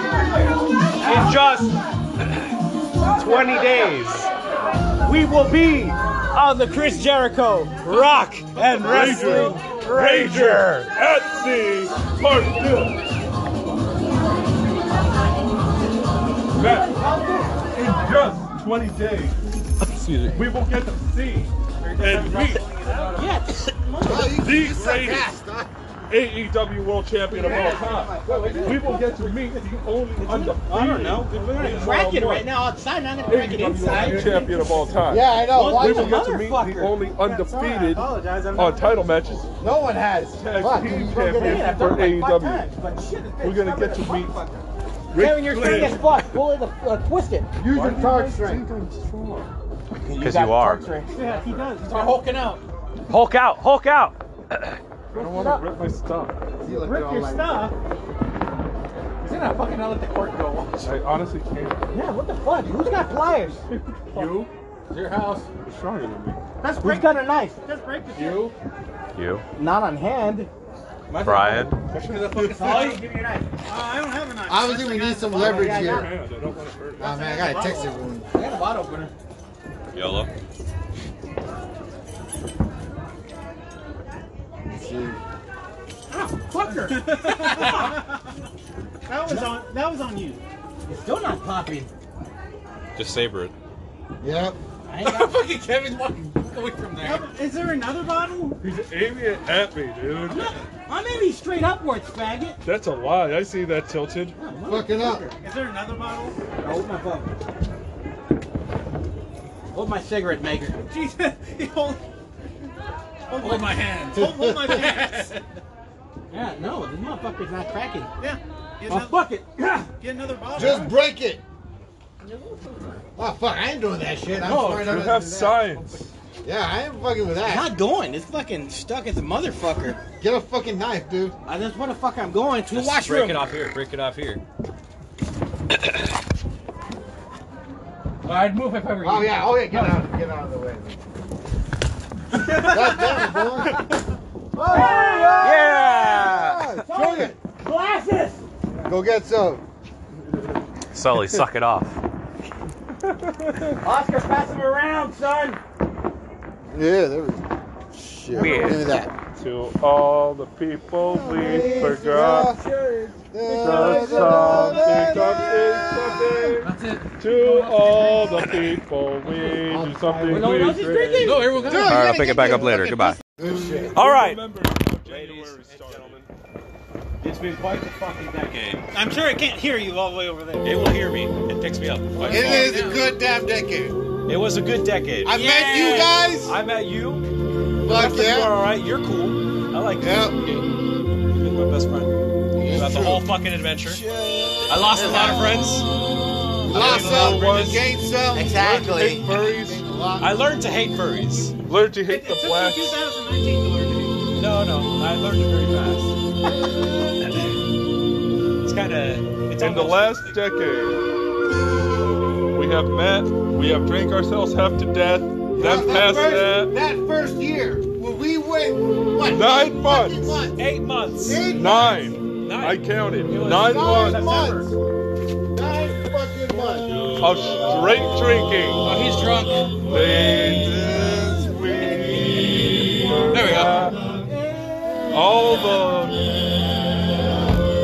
S1: In just 20 days, we will be on the Chris Jericho Rock and Wrestling Ranger at the Part 2.
S4: In just 20 days, we will get to see and meet the greatest AEW E World Champion of all time. We will get to meet the only undefeated. I don't know. We're gonna
S12: Crack it right now outside, not gonna crack it
S4: AEW
S12: inside.
S4: E champion of all time.
S12: Yeah, I know. Why
S4: we
S12: the
S4: will get to meet the only undefeated on title matches.
S3: No one has.
S4: Tag
S3: Fuck.
S4: team
S3: We're gonna get it.
S4: champion for
S1: E
S3: Fuck
S4: AEW. We're gonna get to meet. Ric
S12: Kevin, you're
S4: Flair.
S12: straight as fuck. Pull it, uh, twist it.
S3: Use your card strength.
S6: Because you are.
S12: Yeah, he does. He's hulking out.
S1: Hulk out, Hulk out.
S4: I don't want to rip my stuff.
S12: Rip your stuff. He's gonna fucking not let the court go.
S4: I honestly can't.
S12: Yeah, what the fuck? Who's got pliers?
S4: [LAUGHS] You?
S7: It's your house.
S4: You're stronger than me.
S12: That's Who's got a knife?
S11: Just break the
S7: You?
S6: You,
S12: Not on hand.
S6: Brian.
S11: I don't have a knife.
S3: Obviously, we need some leverage here.
S4: I don't want to hurt.
S3: Oh man, I got a text everyone.
S5: I got a bottle opener.
S6: Yolo.
S11: Fucker. that was on. That was on you.
S12: It's still not popping.
S6: Just savor it.
S3: Yep.
S12: I ain't got
S5: Fucking Kevin's walking away from there.
S11: Is there another bottle?
S4: He's aiming it at me, dude.
S12: I'm aiming straight upwards, faggot.
S4: That's a lie. I see that tilted.
S3: Fuck it up.
S11: Is there another bottle?
S12: Hold my phone. Hold my cigarette maker.
S11: Jesus.
S7: Oh! [LAUGHS]
S11: Hold, hold,
S5: Hold my hand.
S11: hand. Hold, hold my pants.
S7: [LAUGHS]
S12: Yeah, no, this motherfucker's not cracking.
S11: Yeah. Get,
S12: Oh,
S11: another,
S12: fuck it.
S11: get another bottle.
S3: Just break it. Oh fuck, I ain't doing that shit. I'm
S4: No,
S3: sorry,
S4: you
S3: I'm not doing that.
S4: have science.
S3: Yeah, I ain't fucking with
S12: It's
S3: that.
S12: not going. It's fucking stuck as a motherfucker.
S3: Get a fucking knife, dude.
S12: I just where the fuck I'm going to the
S6: Just break it
S12: washroom.
S6: off here. Break it off here.
S7: I'd move if I were you.
S3: Oh yeah, oh yeah, get out, get out of the way. God damn it,
S1: Yeah.
S3: boy. Show it.
S12: Glasses.
S3: Go get some.
S6: Sully, suck it [LAUGHS] off.
S12: Oscar, pass him around, son.
S3: Yeah, there we go. Shit.
S6: Weird.
S3: Give me that.
S4: To all the people we forgot. The song they got is something to all the people. We do something. We
S12: No, he's drinking.
S7: No, everyone
S3: Dude,
S7: got
S3: you
S7: it.
S6: All right, I'll
S3: gotta
S6: pick
S3: get
S6: it back
S3: your
S6: up later.
S3: fucking
S6: Goodbye.
S3: piece-
S6: All right.
S4: Ladies and gentlemen.
S6: It's been quite the fucking decade.
S11: I'm sure it can't hear you all the way over there.
S6: It will hear me. It picks me up. by phone.
S3: It is a good damn decade.
S6: It was a good decade.
S3: I
S6: I,
S3: met you guys.
S6: met you.
S3: Fuck
S6: After You are
S3: yeah.
S6: all right. You're cool. I like you.
S3: Yeah.
S6: You've been my best friend throughout the whole fucking adventure. I lost a lot of friends.
S3: Lost some, gained some.
S4: Hate
S5: Exactly.
S4: furries.
S6: I learned to hate furries.
S4: Learn to hate
S11: It
S4: the
S11: took
S4: blacks.
S11: you 2019 to learn
S6: No, no, I learned it very fast. it's kind of. It's
S4: In the
S6: almost-
S4: last decade, we have met, we have drank ourselves half to death, then past
S3: first,
S4: that,
S3: that first year, when we went, what?
S4: Nine
S3: eight fucking
S4: months.
S6: eight months.
S3: Eight
S4: nine.
S6: Nine.
S4: I counted.
S6: It was
S4: Nine
S3: Nine
S4: months
S3: months. Nine fucking months.
S4: of straight drinking.
S7: Oh, he's drunk.
S4: Ladies, we
S7: There we go.
S4: all the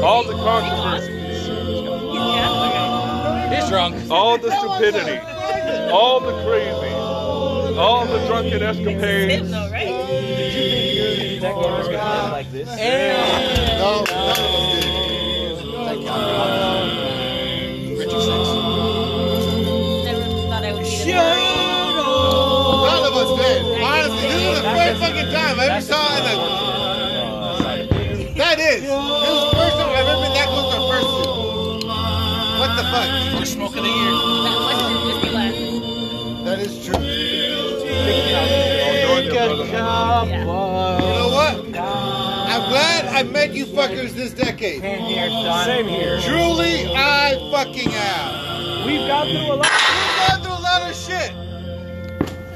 S4: all the controversies,
S7: He's drunk.
S4: all the stupidity, all the crazy, all the drunken escapades.
S3: No, none of us did. Thank
S10: Never thought I would be the
S3: All of us did. Honestly, this is the first fucking time I ever saw it.
S6: Oh,
S3: Like, that is. This is the first time I've ever been that close to a person. What the fuck?
S5: We're smoking the year.
S10: That wasn't Disneyland.
S3: That is true.
S11: Yeah.
S3: You know what? I'm glad I met you fuckers this decade.
S1: Same here.
S3: Truly, I fucking am.
S1: We've gone through a lot.
S3: We've gone through a lot of shit.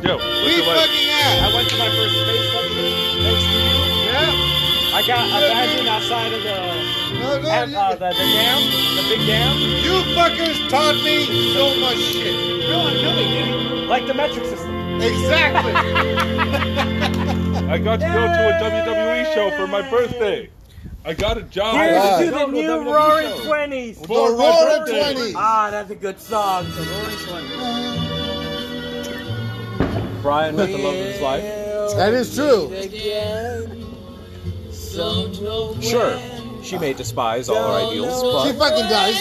S4: Yo,
S3: We
S4: what's the
S3: fucking have.
S1: I went to my first space function thanks to you.
S3: Yeah.
S1: I got a badging outside of the,
S3: No, no,
S1: at,
S3: you-
S1: uh, the, the dam, the big dam.
S3: You fuckers taught me so much shit.
S1: No, I know they did. Like the metric system.
S3: Exactly.
S4: I got to go to a WWE show for my birthday. I got a
S12: Oh,
S4: job.
S1: Here's
S4: at a
S1: to the
S4: local
S1: new
S12: E
S4: WWE
S1: Roaring
S4: show.
S1: Twenties.
S3: the
S4: For my
S3: Roaring
S4: birthday.
S3: Twenties.
S1: Ah, that's a good song. The Roaring Twenties. Brian with the love of his life.
S3: That is true.
S6: Sure, she may despise all our ideals,
S3: She
S6: but
S3: fucking does.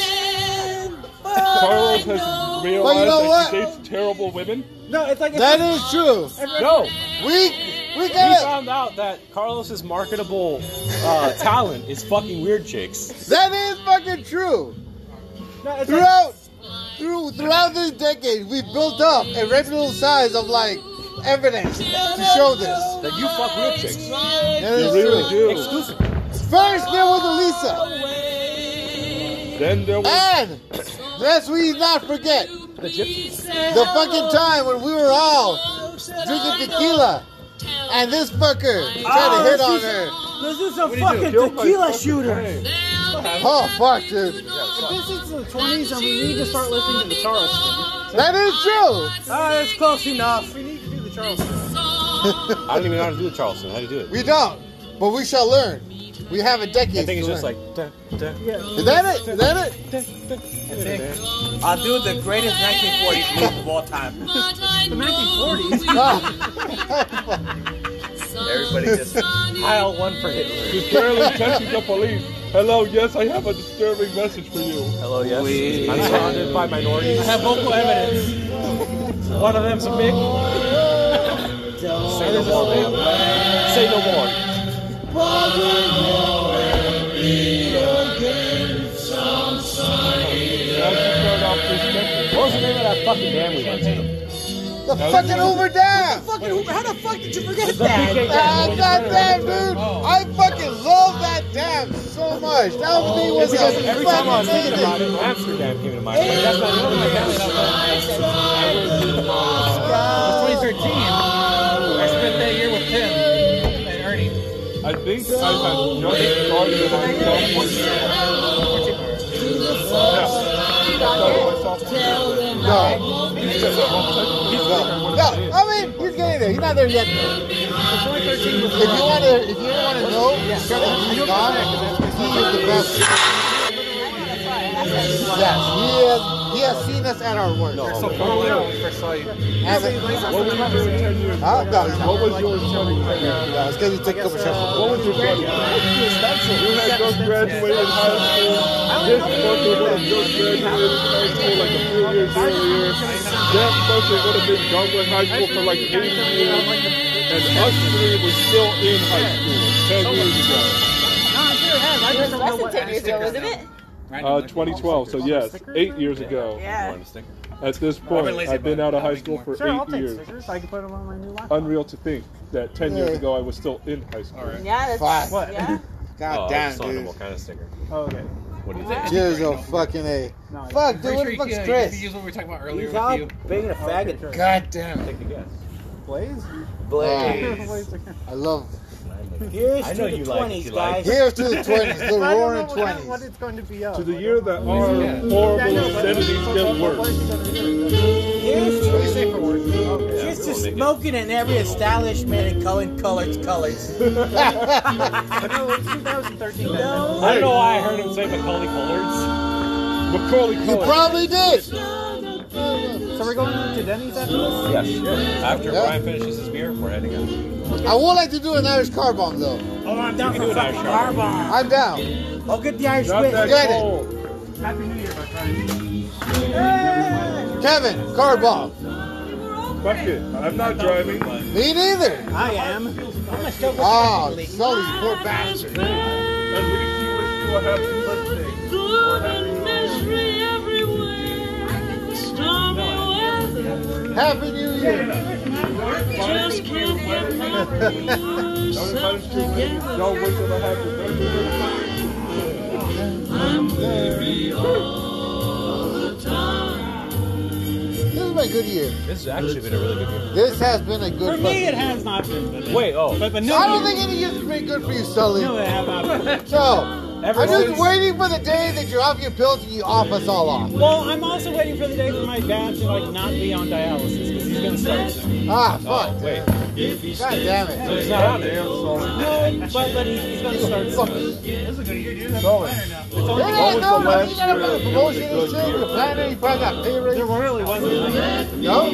S4: Carlos has realized
S3: But you know
S4: that she
S3: what?
S4: dates terrible women.
S12: No, it's like it's
S3: That is true.
S1: No,
S3: We we
S6: we
S3: got
S6: found out that Carlos's marketable [LAUGHS] uh, talent is fucking weird chicks.
S3: it. That is fucking true.
S12: no, it's like,
S3: Throughout through throughout this decade, we built up a reputable size of like evidence to show this.
S6: That you fuck weird chicks.
S3: That
S4: You
S3: is
S4: really
S3: true.
S4: do.
S6: Exclusive.
S3: First there was Elisa,
S4: Then there
S6: Ah,
S4: was
S3: and lest we not forget
S6: The gypsies.
S3: the fucking time when we were all drinking tequila, and this fucker
S12: Oh,
S3: tried to hit on her.
S12: this is a
S4: What do
S12: fucking
S4: you do? Killed by
S12: tequila
S4: fucking
S12: shooter.
S4: pain.
S3: Oh fuck, dude.
S12: If this is the 20s, and we need to start listening to the Charleston.
S3: That is true.
S12: Ah, that's close enough. We need to do the Charleston.
S6: I don't even know how to do the Charleston. How do you do it?
S3: We don't, but we shall learn. We have a decade.
S6: I think it's
S3: to
S6: just
S3: learn.
S6: like. duh, duh.
S12: Yeah.
S3: Is that it? Is that it?
S11: I'll do the greatest 1940s move of all time.
S12: The 1940s.
S3: Ah.
S5: Everybody just.
S6: Pile one for Hitler.
S4: Barely texting the police. Hello, yes, I have a disturbing message for you.
S6: Hello, yes. I'm surrounded by minorities.
S12: have vocal evidence.
S6: One of them's a big. Say no more, man. Say no more.
S4: Now she turned off this message.
S6: What was the name of that fucking dam we went to?
S3: the fucking Hoover Dam!
S12: Fucking Uber, how the fuck did you forget
S1: big
S12: that?
S1: game.
S3: Ah, that dam, dude! I fucking love that dam so much! That thing was
S6: Because every time I was
S3: fucking
S6: thinking about
S3: amazing!
S6: it, Amsterdam came to mind. Like, that's not one of my
S17: was 2013. I spent that year with Tim and Ernie.
S4: I think I had just started my sophomore year.
S7: Uh,
S4: Yeah. I started my sophomore year.
S3: No,
S4: Because I was like,
S3: no, no! I mean, he's getting there. He's not there yet. If you want to, if you want to know, yeah, he's gone. He is the best. Yes, he has. He has seen us at our worst.
S4: So far away.
S3: As a-
S4: What was you doing 10 years
S3: Huh?
S4: ago?
S3: No, he's not.
S4: What was your studying career?
S3: No, it's because he took a couple shots.
S4: What was your studying You had just graduated high school. This fucker would have just graduated high school like a few years earlier. That fucker would have been done with high school for like eight years. And us three were still in high school 10 years ago.
S10: It was less than 10 years ago, wasn't it?
S4: Uh, 2012, so yes, eight years ago.
S10: Yeah.
S4: At this point, I've been out of high school for
S12: Sure, I'll
S4: eight
S12: take
S4: years.
S12: stickers. I can put them on my new laptop.
S4: Unreal to think that 10 years ago I was still in high school.
S10: Yeah, that's.
S3: Fuck.
S12: What?
S10: Yeah.
S6: Oh,
S3: God
S6: I
S3: damn,
S6: just don't know
S3: dude.
S6: what kind of sticker.
S12: Oh, okay.
S6: What do you think?
S3: Cheers, oh fucking A.
S12: No, I-
S3: Fuck, dude,
S17: Pretty
S3: what
S17: sure
S3: the
S17: you-
S3: fuck's
S17: yeah,
S3: Chris?
S17: You use what we were talking about earlier
S12: He's
S17: with
S12: out
S17: you.
S12: being a faggot.
S3: God damn.
S1: Take a guess.
S12: [LAUGHS] Blaze?
S3: Blaze. I love.
S12: Here's
S6: I
S12: to
S6: know
S12: the
S6: you like it,
S12: 20s,
S6: you like
S12: guys.
S3: Here's to
S12: [LAUGHS]
S3: the 20s, the
S12: I don't know
S3: roaring
S12: what, kind- what
S3: 20s.
S12: it's going to be of.
S4: To
S12: I
S4: the
S12: don't
S4: year
S12: know.
S4: that our horrible obscenity still works.
S12: Here's to
S6: we
S12: Here's
S6: will
S12: to
S6: make it.
S12: smoking in every establishment and calling colors colors. no, it's 2013. No.
S6: I don't know why I heard him say Macaulay Cullards.
S4: Macaulay
S12: Oh,
S3: You
S4: Cullen.
S3: probably did.
S12: So we're going to Denny's after this?
S6: Yes. After
S3: Yeah.
S6: Brian finishes his beer, we're heading out.
S3: I would like to do an Irish car bomb though.
S12: Oh, I'm down
S6: You
S12: for
S6: do an
S12: fucking
S6: Irish
S12: car bomb.
S3: I'm down.
S12: I'll get the Irish
S4: Not
S12: whip.
S4: that
S3: Get it.
S4: cold.
S1: Happy New Year, my friend.
S3: Kevin, cardball.
S4: Fuck it. I'm not driving.
S3: Me neither.
S12: I am. I'm a still
S3: Oh, Sully, you poor bastard.
S4: At least you wish you a happy birthday. Or a happy
S3: Happy New Year. [LAUGHS]
S4: Just can't get my Don't wait till I have your birthday.
S3: I'm very This has been a good year.
S6: This has actually been a really good year.
S3: This has been a good
S17: For me, it
S3: fucking
S17: has not been. But
S6: Wait, oh.
S17: But, but no,
S3: I don't think any year's been good for you, Sully.
S17: No, it has not been.
S3: So,
S17: Ever
S3: I'm just
S17: since-
S3: waiting for the day that you're off your pills and you off us all off.
S17: Well, I'm also waiting for the day for my dad to like not be on dialysis because he's gonna start soon.
S3: Ah, fuck.
S6: Oh, Wait.
S3: God damn it.
S6: It's not on there.
S17: No, but, but he- he's gonna start soon.
S4: Sully,
S17: It's only-
S3: Yeah,
S4: was
S3: no,
S4: the
S3: no,
S4: last
S3: you got up on the
S4: year that you
S3: promotion
S4: really
S3: and
S4: good
S3: shit.
S4: year?
S3: You're planning, you probably got pay
S17: There
S3: raise.
S17: really wasn't.
S3: No?
S17: No.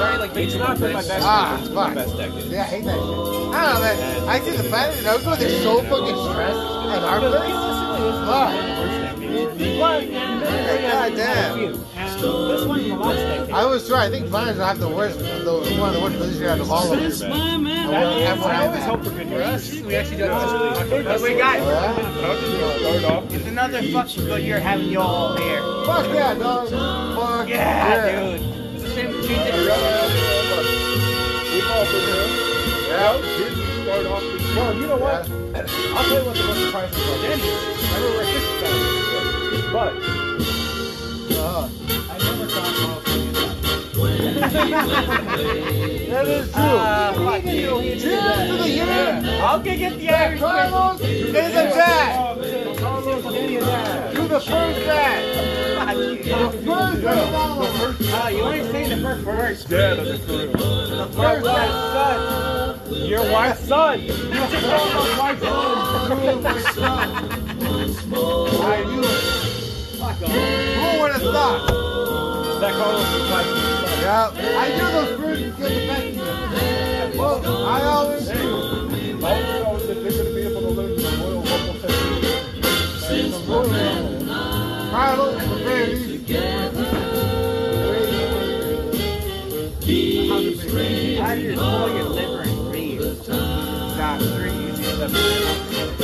S11: Sorry, like
S6: It's not been my best
S3: Ah,
S6: decade. It's been
S3: fuck.
S6: my best decade.
S3: Yeah, I hate that shit. I don't know, man. I see the planning and I go there so fucking stressed and heartless. Fuck. God damn.
S17: This one in the last decade.
S3: I was right. I think planners will have the worst, the, one of the worst positions out of all of them.
S17: That-
S3: I always
S1: hope for good news.
S11: We actually do
S17: Uh,
S11: have this really But we got
S4: How did you start off?
S12: It's another fucking good year having you all here.
S3: Fuck yeah, dog. Fuck
S12: Yeah, dude. It's the same
S4: We've all been there. How did you start off this year?
S1: Well, you know what? I'll tell you what the most surprising was. I remember at Christmas time. But I never thought
S3: That is true. Cheers to the year.
S12: I'll go get the Irish whiskey.
S3: Carlos is a dad. To the first dad.
S12: Fuck you.
S3: The first dad.
S12: Oh, you only say the first words.
S4: Dad of the crew.
S12: The first words.
S1: of your wife's son.
S3: I knew it. Who would have thought?
S1: That Carlos was like,
S3: Yeah. I knew those birds would get the best of you. Well, I always knew.
S4: I always thought that they're going to be able to learn the royal local technique. And the royal animal.
S3: Carlos, the very least.
S12: How do you pull your liver and breathe? Nah, three easy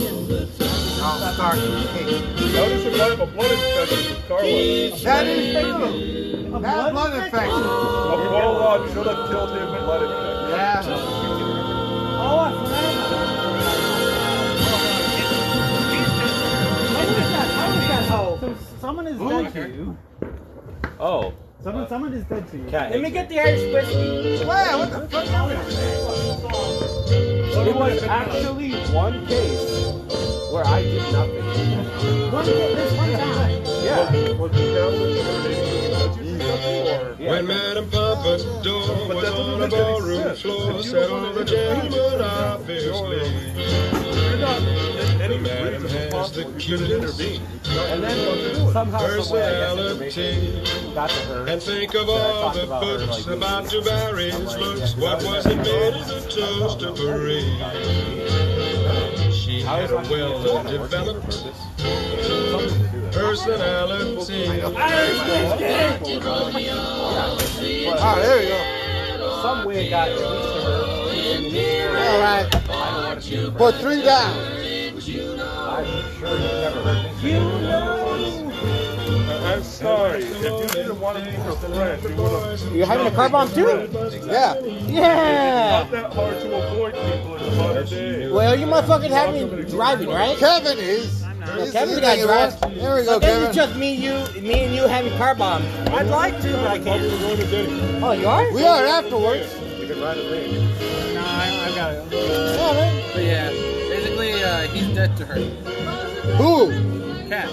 S3: I'll start with cake.
S4: Notice if I have a blood infection with Carlos.
S3: That is true. That blood infection.
S4: A prologue should have killed him with blood infection.
S3: Yeah.
S17: Oh, I forgot. How was that? How was that? Oh, so someone is dead to you.
S6: Oh.
S12: Uh,
S17: Someone, someone is dead to you.
S6: Cat
S12: Let me get the Irish whiskey.
S3: Wow, what the fuck
S1: it was actually one case where I did nothing.
S17: One, this one time.
S1: Yeah.
S4: Was the Catholic Church able to do something, or-
S1: yeah.
S18: Madame Pompadour
S4: But that
S18: was
S4: doesn't
S18: on a
S4: make any
S18: ballroom
S4: sense.
S18: floor,
S4: If you
S18: said
S4: were
S18: all
S4: the
S18: the gentlemen, obviously.
S4: You're not in any
S18: Madam has the
S4: reasonable possible. You should
S18: cutest
S4: intervene.
S1: And then somehow, some way, I guess information
S18: personality.
S1: got to her.
S18: And think of
S1: that I
S18: all
S1: talked
S18: the
S1: about her, like,
S18: books
S1: being-
S18: about to bury his
S1: like,
S18: looks.
S1: yeah,
S18: What
S1: because I
S18: was
S1: was
S18: invented as a toast to parade? She had a well developed personality.
S3: Ah, there you go.
S1: Some way it got reached to her. and it reached her.
S3: All right. For three down.
S1: I'm sure you've never heard this.
S4: I'm sorry. If you didn't want to be her friend, you would have.
S2: You're having a car bomb too?
S3: Yeah.
S2: Yeah.
S4: It's not that hard to avoid people in the modern day.
S2: Well, you motherfucking have me driving, right?
S3: Kevin is. He's
S2: Kevin's
S3: the
S2: got
S3: thing about-
S2: drugs.
S3: There we
S2: So
S3: go,
S2: this
S3: Kevin.
S2: is just me, you, me and you having car bombs.
S17: I'd like to, but I
S4: How
S17: can't.
S4: you going to Denny's?
S2: Oh, you are?
S3: We are afterwards.
S4: You can ride a thing.
S17: No, I, I've got it.
S3: Yeah, man.
S7: Oh,
S17: But yeah.
S11: basically uh, he's dead to her.
S3: Who?
S11: Cat.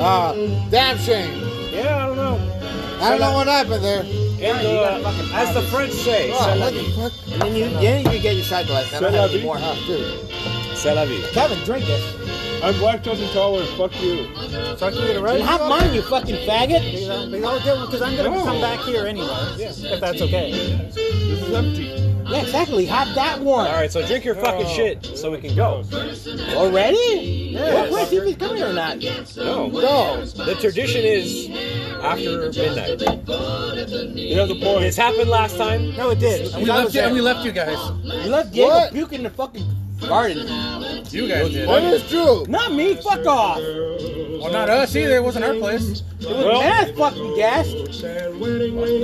S3: Ah, damn shame.
S1: Yeah, I don't know.
S3: I don't know what happened there.
S1: And, uh, as the French say,
S3: Oh,
S1: c'est la
S3: what
S1: vie.
S3: the fuck?
S2: And then you, then you get your shot glass. I don't
S4: Shall I
S2: have any
S4: be?
S2: more.
S3: Ah, dude.
S6: C'est la vie.
S2: Kevin, drink it.
S4: I'm lactose intolerant. Fuck you.
S3: Fuck you, right?
S2: And have mine, you fucking faggot.
S17: Because I'm gonna come back here anyway, if that's okay.
S4: This is empty.
S2: Yeah, exactly. Have that one.
S1: All right, so drink your fucking shit so we can go.
S2: Already?
S1: Yeah.
S2: What, wait, see if he's coming or not.
S1: No,
S2: No.
S1: The tradition is after midnight. You know the point. This happened last time.
S2: No, it did.
S7: We left you. And we left you guys.
S2: You left Diego
S7: What?
S2: puke in the fucking garden.
S7: You guys did.
S2: That is true. Not me. Fuck off.
S7: Well, not us either. It wasn't our place.
S2: It was Matt's fucking gas.
S7: No,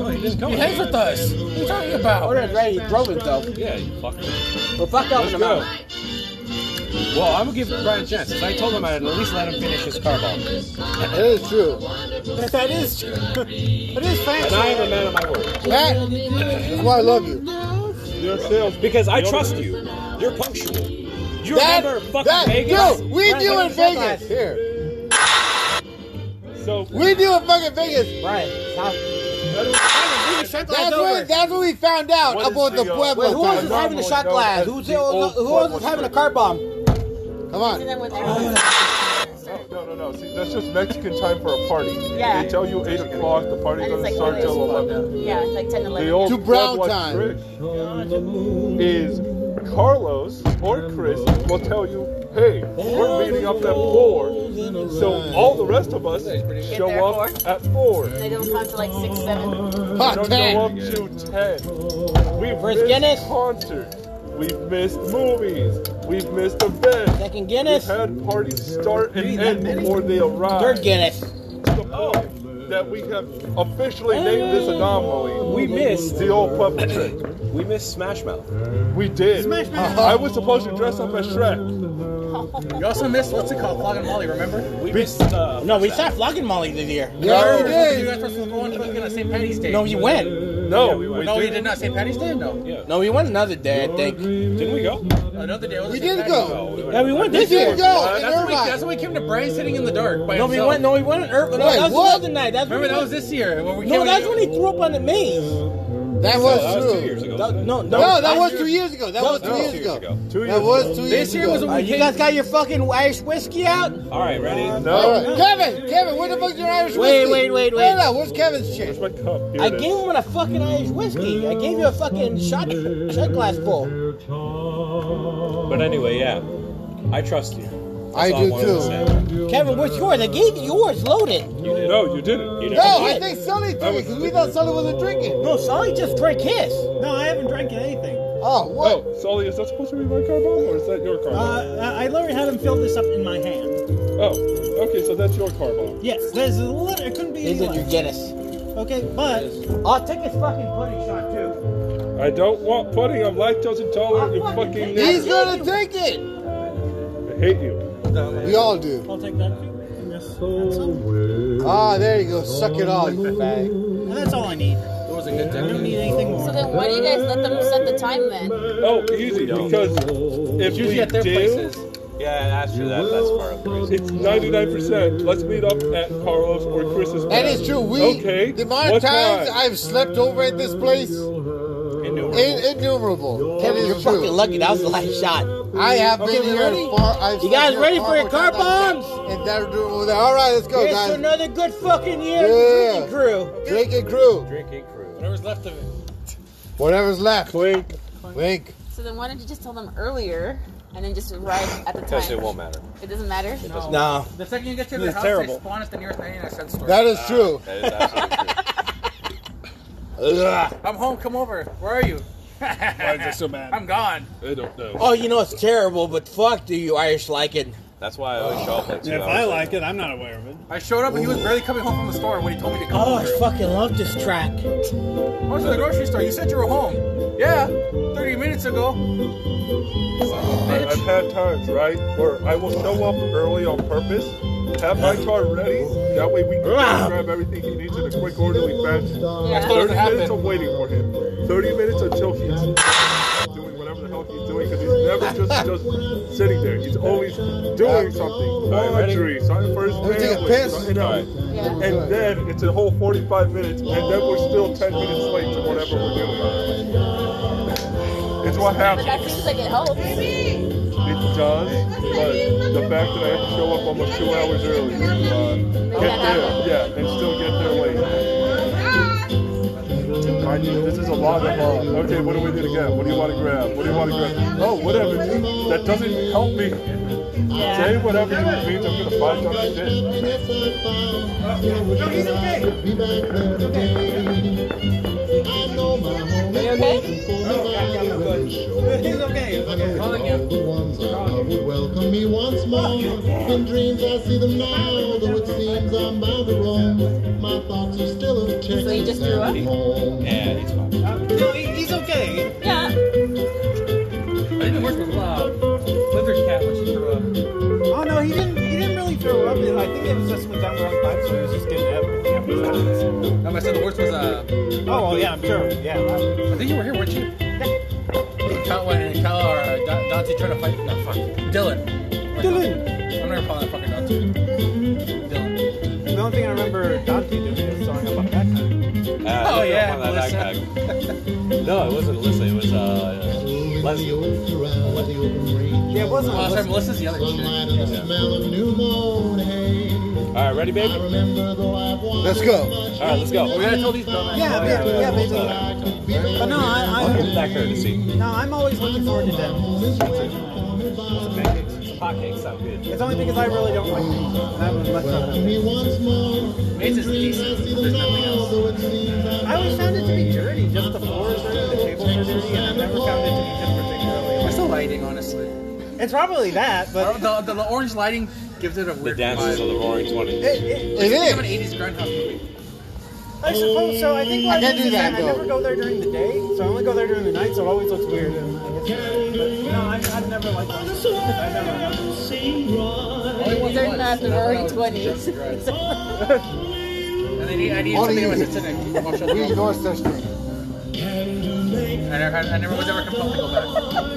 S7: he didn't come. He hangs with us. What are you talking
S2: Oh,
S7: about?
S2: that's right. He drove himself.
S1: Yeah, you fucked
S2: Well, fuck off in the
S1: go.
S2: mouth.
S1: Well, I'm gonna give Brian a chance. 'cause I told him I'd at least let him finish his car bomb.
S3: That is true.
S2: That, that
S17: [LAUGHS]
S2: is true.
S3: That is
S1: And I am a man of my word.
S3: Matt, that's why I love you.
S1: Because I trust you. You're punctual. You
S3: That-
S1: remember fucking
S3: that-
S1: Vegas?
S3: dude, we
S2: Brian,
S3: do
S2: put
S3: in
S2: your shot
S3: Vegas.
S2: glass.
S3: Here,
S1: So
S3: we do in fucking Vegas.
S2: Brian, stop.
S3: That's what, that's what we found out
S4: What is
S3: about the
S4: the, uh,
S3: Pueblo.
S2: Wait, who else
S3: time.
S2: is having a shot
S4: known
S2: glass?
S4: as
S2: Who's,
S4: the old
S2: who else is
S4: Pueblo
S2: having a car bomb?
S3: Come on.
S4: No, no, no. See, that's just Mexican time for a party.
S10: Yeah.
S4: They tell you 8 o'clock, the party
S10: And it's
S4: doesn't
S10: like
S4: start
S10: one of
S4: till
S10: those-
S4: 11.
S10: Yeah, it's like 10, 11.
S4: The old
S3: To brown
S4: Pueblo
S3: time.
S4: trick is Carlos or Chris will tell you, hey, we're meeting up at 4. So all the rest of us show
S10: there
S4: up at 4.
S10: They don't come to like 6, 7.
S4: We
S3: Hot
S4: don't go up
S3: ten.
S4: to 10. We've
S2: First
S4: missed
S2: Guinness.
S4: concerts. We've missed movies. We've missed events.
S2: Second
S4: We've
S2: Guinness.
S4: had parties start and end before they arrive.
S2: Third Guinness.
S4: the point that we have officially named this anomaly.
S1: We missed.
S4: the old puppet trick.
S1: We missed Smash Mouth.
S4: We did. I was supposed to dress up as Shrek.
S7: You also missed what's it called? Clog and Molly. Remember?
S1: We missed. Uh,
S2: No, we stopped flogging Molly this year.
S3: Yeah, we
S7: Oh, You
S3: did.
S7: guys were supposed to go on fucking on St. Patty's Day.
S2: No, you went.
S4: No, we
S7: No, you
S4: did.
S7: did not. St. Patty's Day. No.
S2: No, we went another day, I think.
S1: Didn't we go?
S7: Another day. was
S3: We
S7: St.
S3: did
S7: Patty's Day.
S3: go.
S2: Yeah, we went
S3: We
S2: this year.
S3: did go in
S7: That's when, we, that's
S3: Irvine.
S7: when we came to Brian sitting in the dark by
S2: No, we
S7: himself.
S2: went. No, we went in Irvine. No,
S3: Wait,
S2: that was
S3: what?
S2: another night. That's when we
S7: Remember that was
S2: went-
S7: this year when we
S2: No,
S7: came.
S2: that's when he threw up on the maze.
S3: That
S1: That was two
S3: was true.
S1: years ago.
S2: That-
S1: wasn't it?
S2: no, no,
S3: No, that was two years ago. That
S2: Oh, No,
S3: was two
S2: no.
S3: years
S2: Two
S1: years
S3: ago.
S1: ago.
S4: Two years
S3: That was two years
S7: This year was
S3: ago.
S7: when
S2: Uh,
S7: we
S2: you
S7: came.
S2: guys got your fucking Irish whiskey out?
S1: All right, ready?
S3: All
S4: No.
S3: right. Kevin, Kevin, where the fuck's your Irish
S2: Wait,
S3: whiskey?
S2: wait, wait, wait.
S3: No, no, where's Kevin's shit?
S4: Where's my cup? Here
S2: I
S4: it is.
S2: gave him a fucking Irish whiskey. I gave you a fucking shot, shot glass full.
S1: But anyway, yeah. I trust you.
S3: I
S1: That's all
S3: do
S1: wanted to
S3: too.
S1: say.
S2: Kevin, what's yours? I gave you yours loaded.
S1: You did. No, you didn't. You didn't.
S3: No, I think Sully took it because we thought Sully wasn't drinking.
S2: No, Solly just drank his.
S17: No, I haven't drank anything.
S3: Oh, what?
S4: Oh, Sully, is that supposed to be my car bomb or is that your car bomb?
S17: Uh, I I literally had him fill this up in my hand.
S4: oh, okay, so that's your car bomb.
S17: Yes, there's a lit- it couldn't be
S2: He
S17: any
S2: said your
S17: less.
S2: Guinness.
S17: Okay, but
S2: I'll take his fucking pudding shot too.
S4: I don't want pudding. I'm lactose intolerant. You
S2: I'm
S4: fucking
S2: fucking-
S3: He's
S4: nigger.
S3: gonna take it.
S4: I hate you.
S3: We all do.
S17: I'll take that too. And this- and some.
S3: Ah, there you go. Suck it all, you fag.
S17: And that's all I need.
S7: It was a good
S17: I don't
S7: decade.
S17: need anything more.
S10: So then why do you guys let them set the time then?
S4: Oh, easy. Because if
S7: Usually
S4: we
S7: at their
S4: do,
S7: places.
S6: Yeah, and after that, that's part of the reason.
S4: It's 99%. Let's meet up at Carlos or Chris's.
S3: That is true. We
S4: Okay.
S3: the amount of
S4: what
S3: times
S4: time?
S3: I've slept over at this place, in, innumerable. That
S2: Kevin, you're
S3: is
S2: fucking
S3: true.
S2: lucky. That was the last shot.
S3: I have been
S2: we
S3: here
S2: ready?
S3: far. I've
S2: You
S3: slept
S2: guys
S3: here
S2: ready for
S3: far
S2: your
S3: more
S2: car
S3: times than
S2: bombs?
S3: that. And that room over there. All right, let's go,
S2: Here's
S3: guys.
S2: another good fucking year of
S3: Yeah.
S2: drinking crew.
S3: Drink and crew.
S1: Drinking crew.
S7: Whatever's left of it.
S3: Whatever's left.
S4: Clink.
S3: Wink.
S10: So then why don't you just tell them earlier and then just arrive at the time?
S6: Because it won't matter.
S10: It doesn't matter?
S2: No.
S7: The second you get to
S2: This
S7: the
S2: is
S7: house,
S2: terrible.
S7: they spawn at the nearest 99 cent store.
S3: That is true.
S19: Ah,
S6: That is absolutely true.
S3: Ugh.
S7: I'm home. Come over. Where are [LAUGHS] you?
S4: Why is that so bad?
S7: I'm gone.
S4: I don't know.
S2: Oh, you know it's terrible, but fuck, do you Irish like it?
S6: That's why I always show up like two
S17: If
S6: hours
S17: I
S6: late.
S17: like it, I'm not aware of it.
S7: I showed up and he was barely coming home from the store when he told me to come
S2: Oh, I
S7: over.
S2: fucking love this track.
S7: I went to the grocery store. You said you were home. Yeah, 30 minutes ago.
S4: I, I've had times, right, where I will show up early on purpose, have my car ready, that way we can grab everything he needs in a quick, orderly fashion.
S10: Yeah.
S4: 30
S7: Happened.
S4: minutes of waiting for him. 30 minutes until he's doing whatever the hell he's doing, because he's never just, just sitting there. He's always doing something.
S6: right, ready?
S4: Laundry, something for his
S3: me take a
S4: family,
S3: piss.
S4: something else.
S10: Yeah.
S4: And then it's a whole 45 minutes, and then we're still 10 minutes late to whatever we're doing. [LAUGHS] It's what
S10: But
S4: happens.
S10: that seems like it helps.
S4: It does, but the fact that I have to show up almost two hours early, uh, get there, yeah, and still get there late. I mind you, this is a lot of, uh, okay, what do we need to grab? What do you want to grab? What do you want to grab? Oh, whatever. That doesn't help me. Say whatever you mean, I'm going to find out
S19: He's okay. He's okay. Calling you. Welcome me once more. In dreams I see them now, though it seems I'm bound to roam. My thoughts are still of Texas
S10: So you just threw up?
S19: and home.
S6: Yeah,
S19: he's
S12: Um,
S7: No, he, he's okay.
S10: Yeah.
S7: I didn't work with uh, Withers cat when she threw up.
S12: Oh no, he didn't. He didn't really throw up. I think it was just went down the wrong pipe, so he was just getting everything. after that.
S7: No, but I said the worst was uh.
S12: Oh well, yeah, I'm sure. Yeah.
S7: I think you were here, weren't you? Yeah. Cal, when Cal or uh, Da- Dante tried to fight. No, fuck. Dylan. Dylan. I'm never calling that fucking Dante. Dylan.
S12: The only thing I remember Dante doing is throwing up on that.
S6: Uh,
S12: Oh,
S6: they
S12: yeah,
S6: don't want that backpack. [LAUGHS] no, it wasn't Alyssa. It was uh, Leslie.
S12: Yeah, it wasn't.
S7: Oh, sorry, Melissa's the other
S6: All right, ready, baby?
S3: Let's go.
S6: All right, let's go.
S7: We gotta tell these brothers.
S12: Yeah, yeah, yeah, basically. But no, I,
S6: Give them that courtesy.
S12: I, no, I'm always looking forward to that.
S6: Hotcakes sound good.
S12: It's only because I really don't like it. I would much rather have it.
S7: It's just decent. There's nothing
S12: else. I always found it to be dirty. Just the floors are dirty, the tables are dirty, and I've never found it to be just particularly.
S7: It's the lighting, honestly.
S12: It's probably that, but
S7: the, the, the orange lighting gives it a weird
S6: dances
S7: vibe.
S6: of the Roaring Twenties.
S12: It-
S7: It's
S12: it
S7: like
S12: is.
S7: An 80s Groundhog movie.
S12: I suppose so. I think what
S3: I can't
S12: do
S3: do
S12: is
S3: that,
S12: I
S3: though.
S12: never go there during the day, so I only go there during the night, so it always looks weird. And I guess, but, no, I've, I've never liked it. I've never.
S10: These are not the
S3: [LAUGHS]
S10: roaring 20s.
S7: And I need, I need
S3: Only
S7: something
S3: you.
S7: with a commercial.
S3: We ignore such things.
S7: I never, I, never was ever compelled to go back.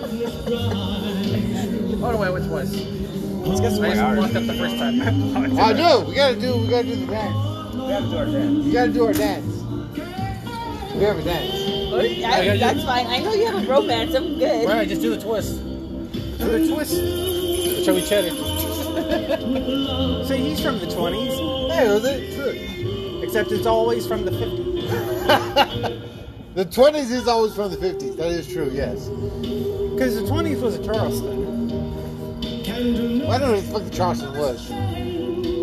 S7: Oh, no, I went twice.
S12: Let's get some
S7: I just
S12: more
S7: walked up the first time.
S3: Oh, I do. We gotta do. We gotta do the dance. We gotta do our dance. We have a dance.
S10: I, that's fine. I know you have a romance. I'm good.
S7: Right, just do the twist.
S12: The twist.
S7: Chubby cheddar.
S12: So he's from the 20s,
S3: Hey, was it? Look.
S12: except it's always from the 50s.
S3: The twenties is always from the fifties. That is true. Yes.
S12: Because the 20s was a Charleston.
S3: I don't know what the fuck the Charleston was.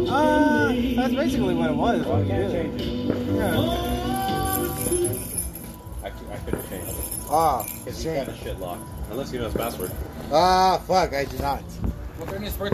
S12: Uh, that's basically what it was. really. Yeah.
S6: I, cou- I couldn't change it.
S3: Ah,
S6: Because he's
S3: shame.
S6: got the shit locked. Unless he knows password.
S3: Ah, fuck. I do not.
S7: What's her name? Birthday?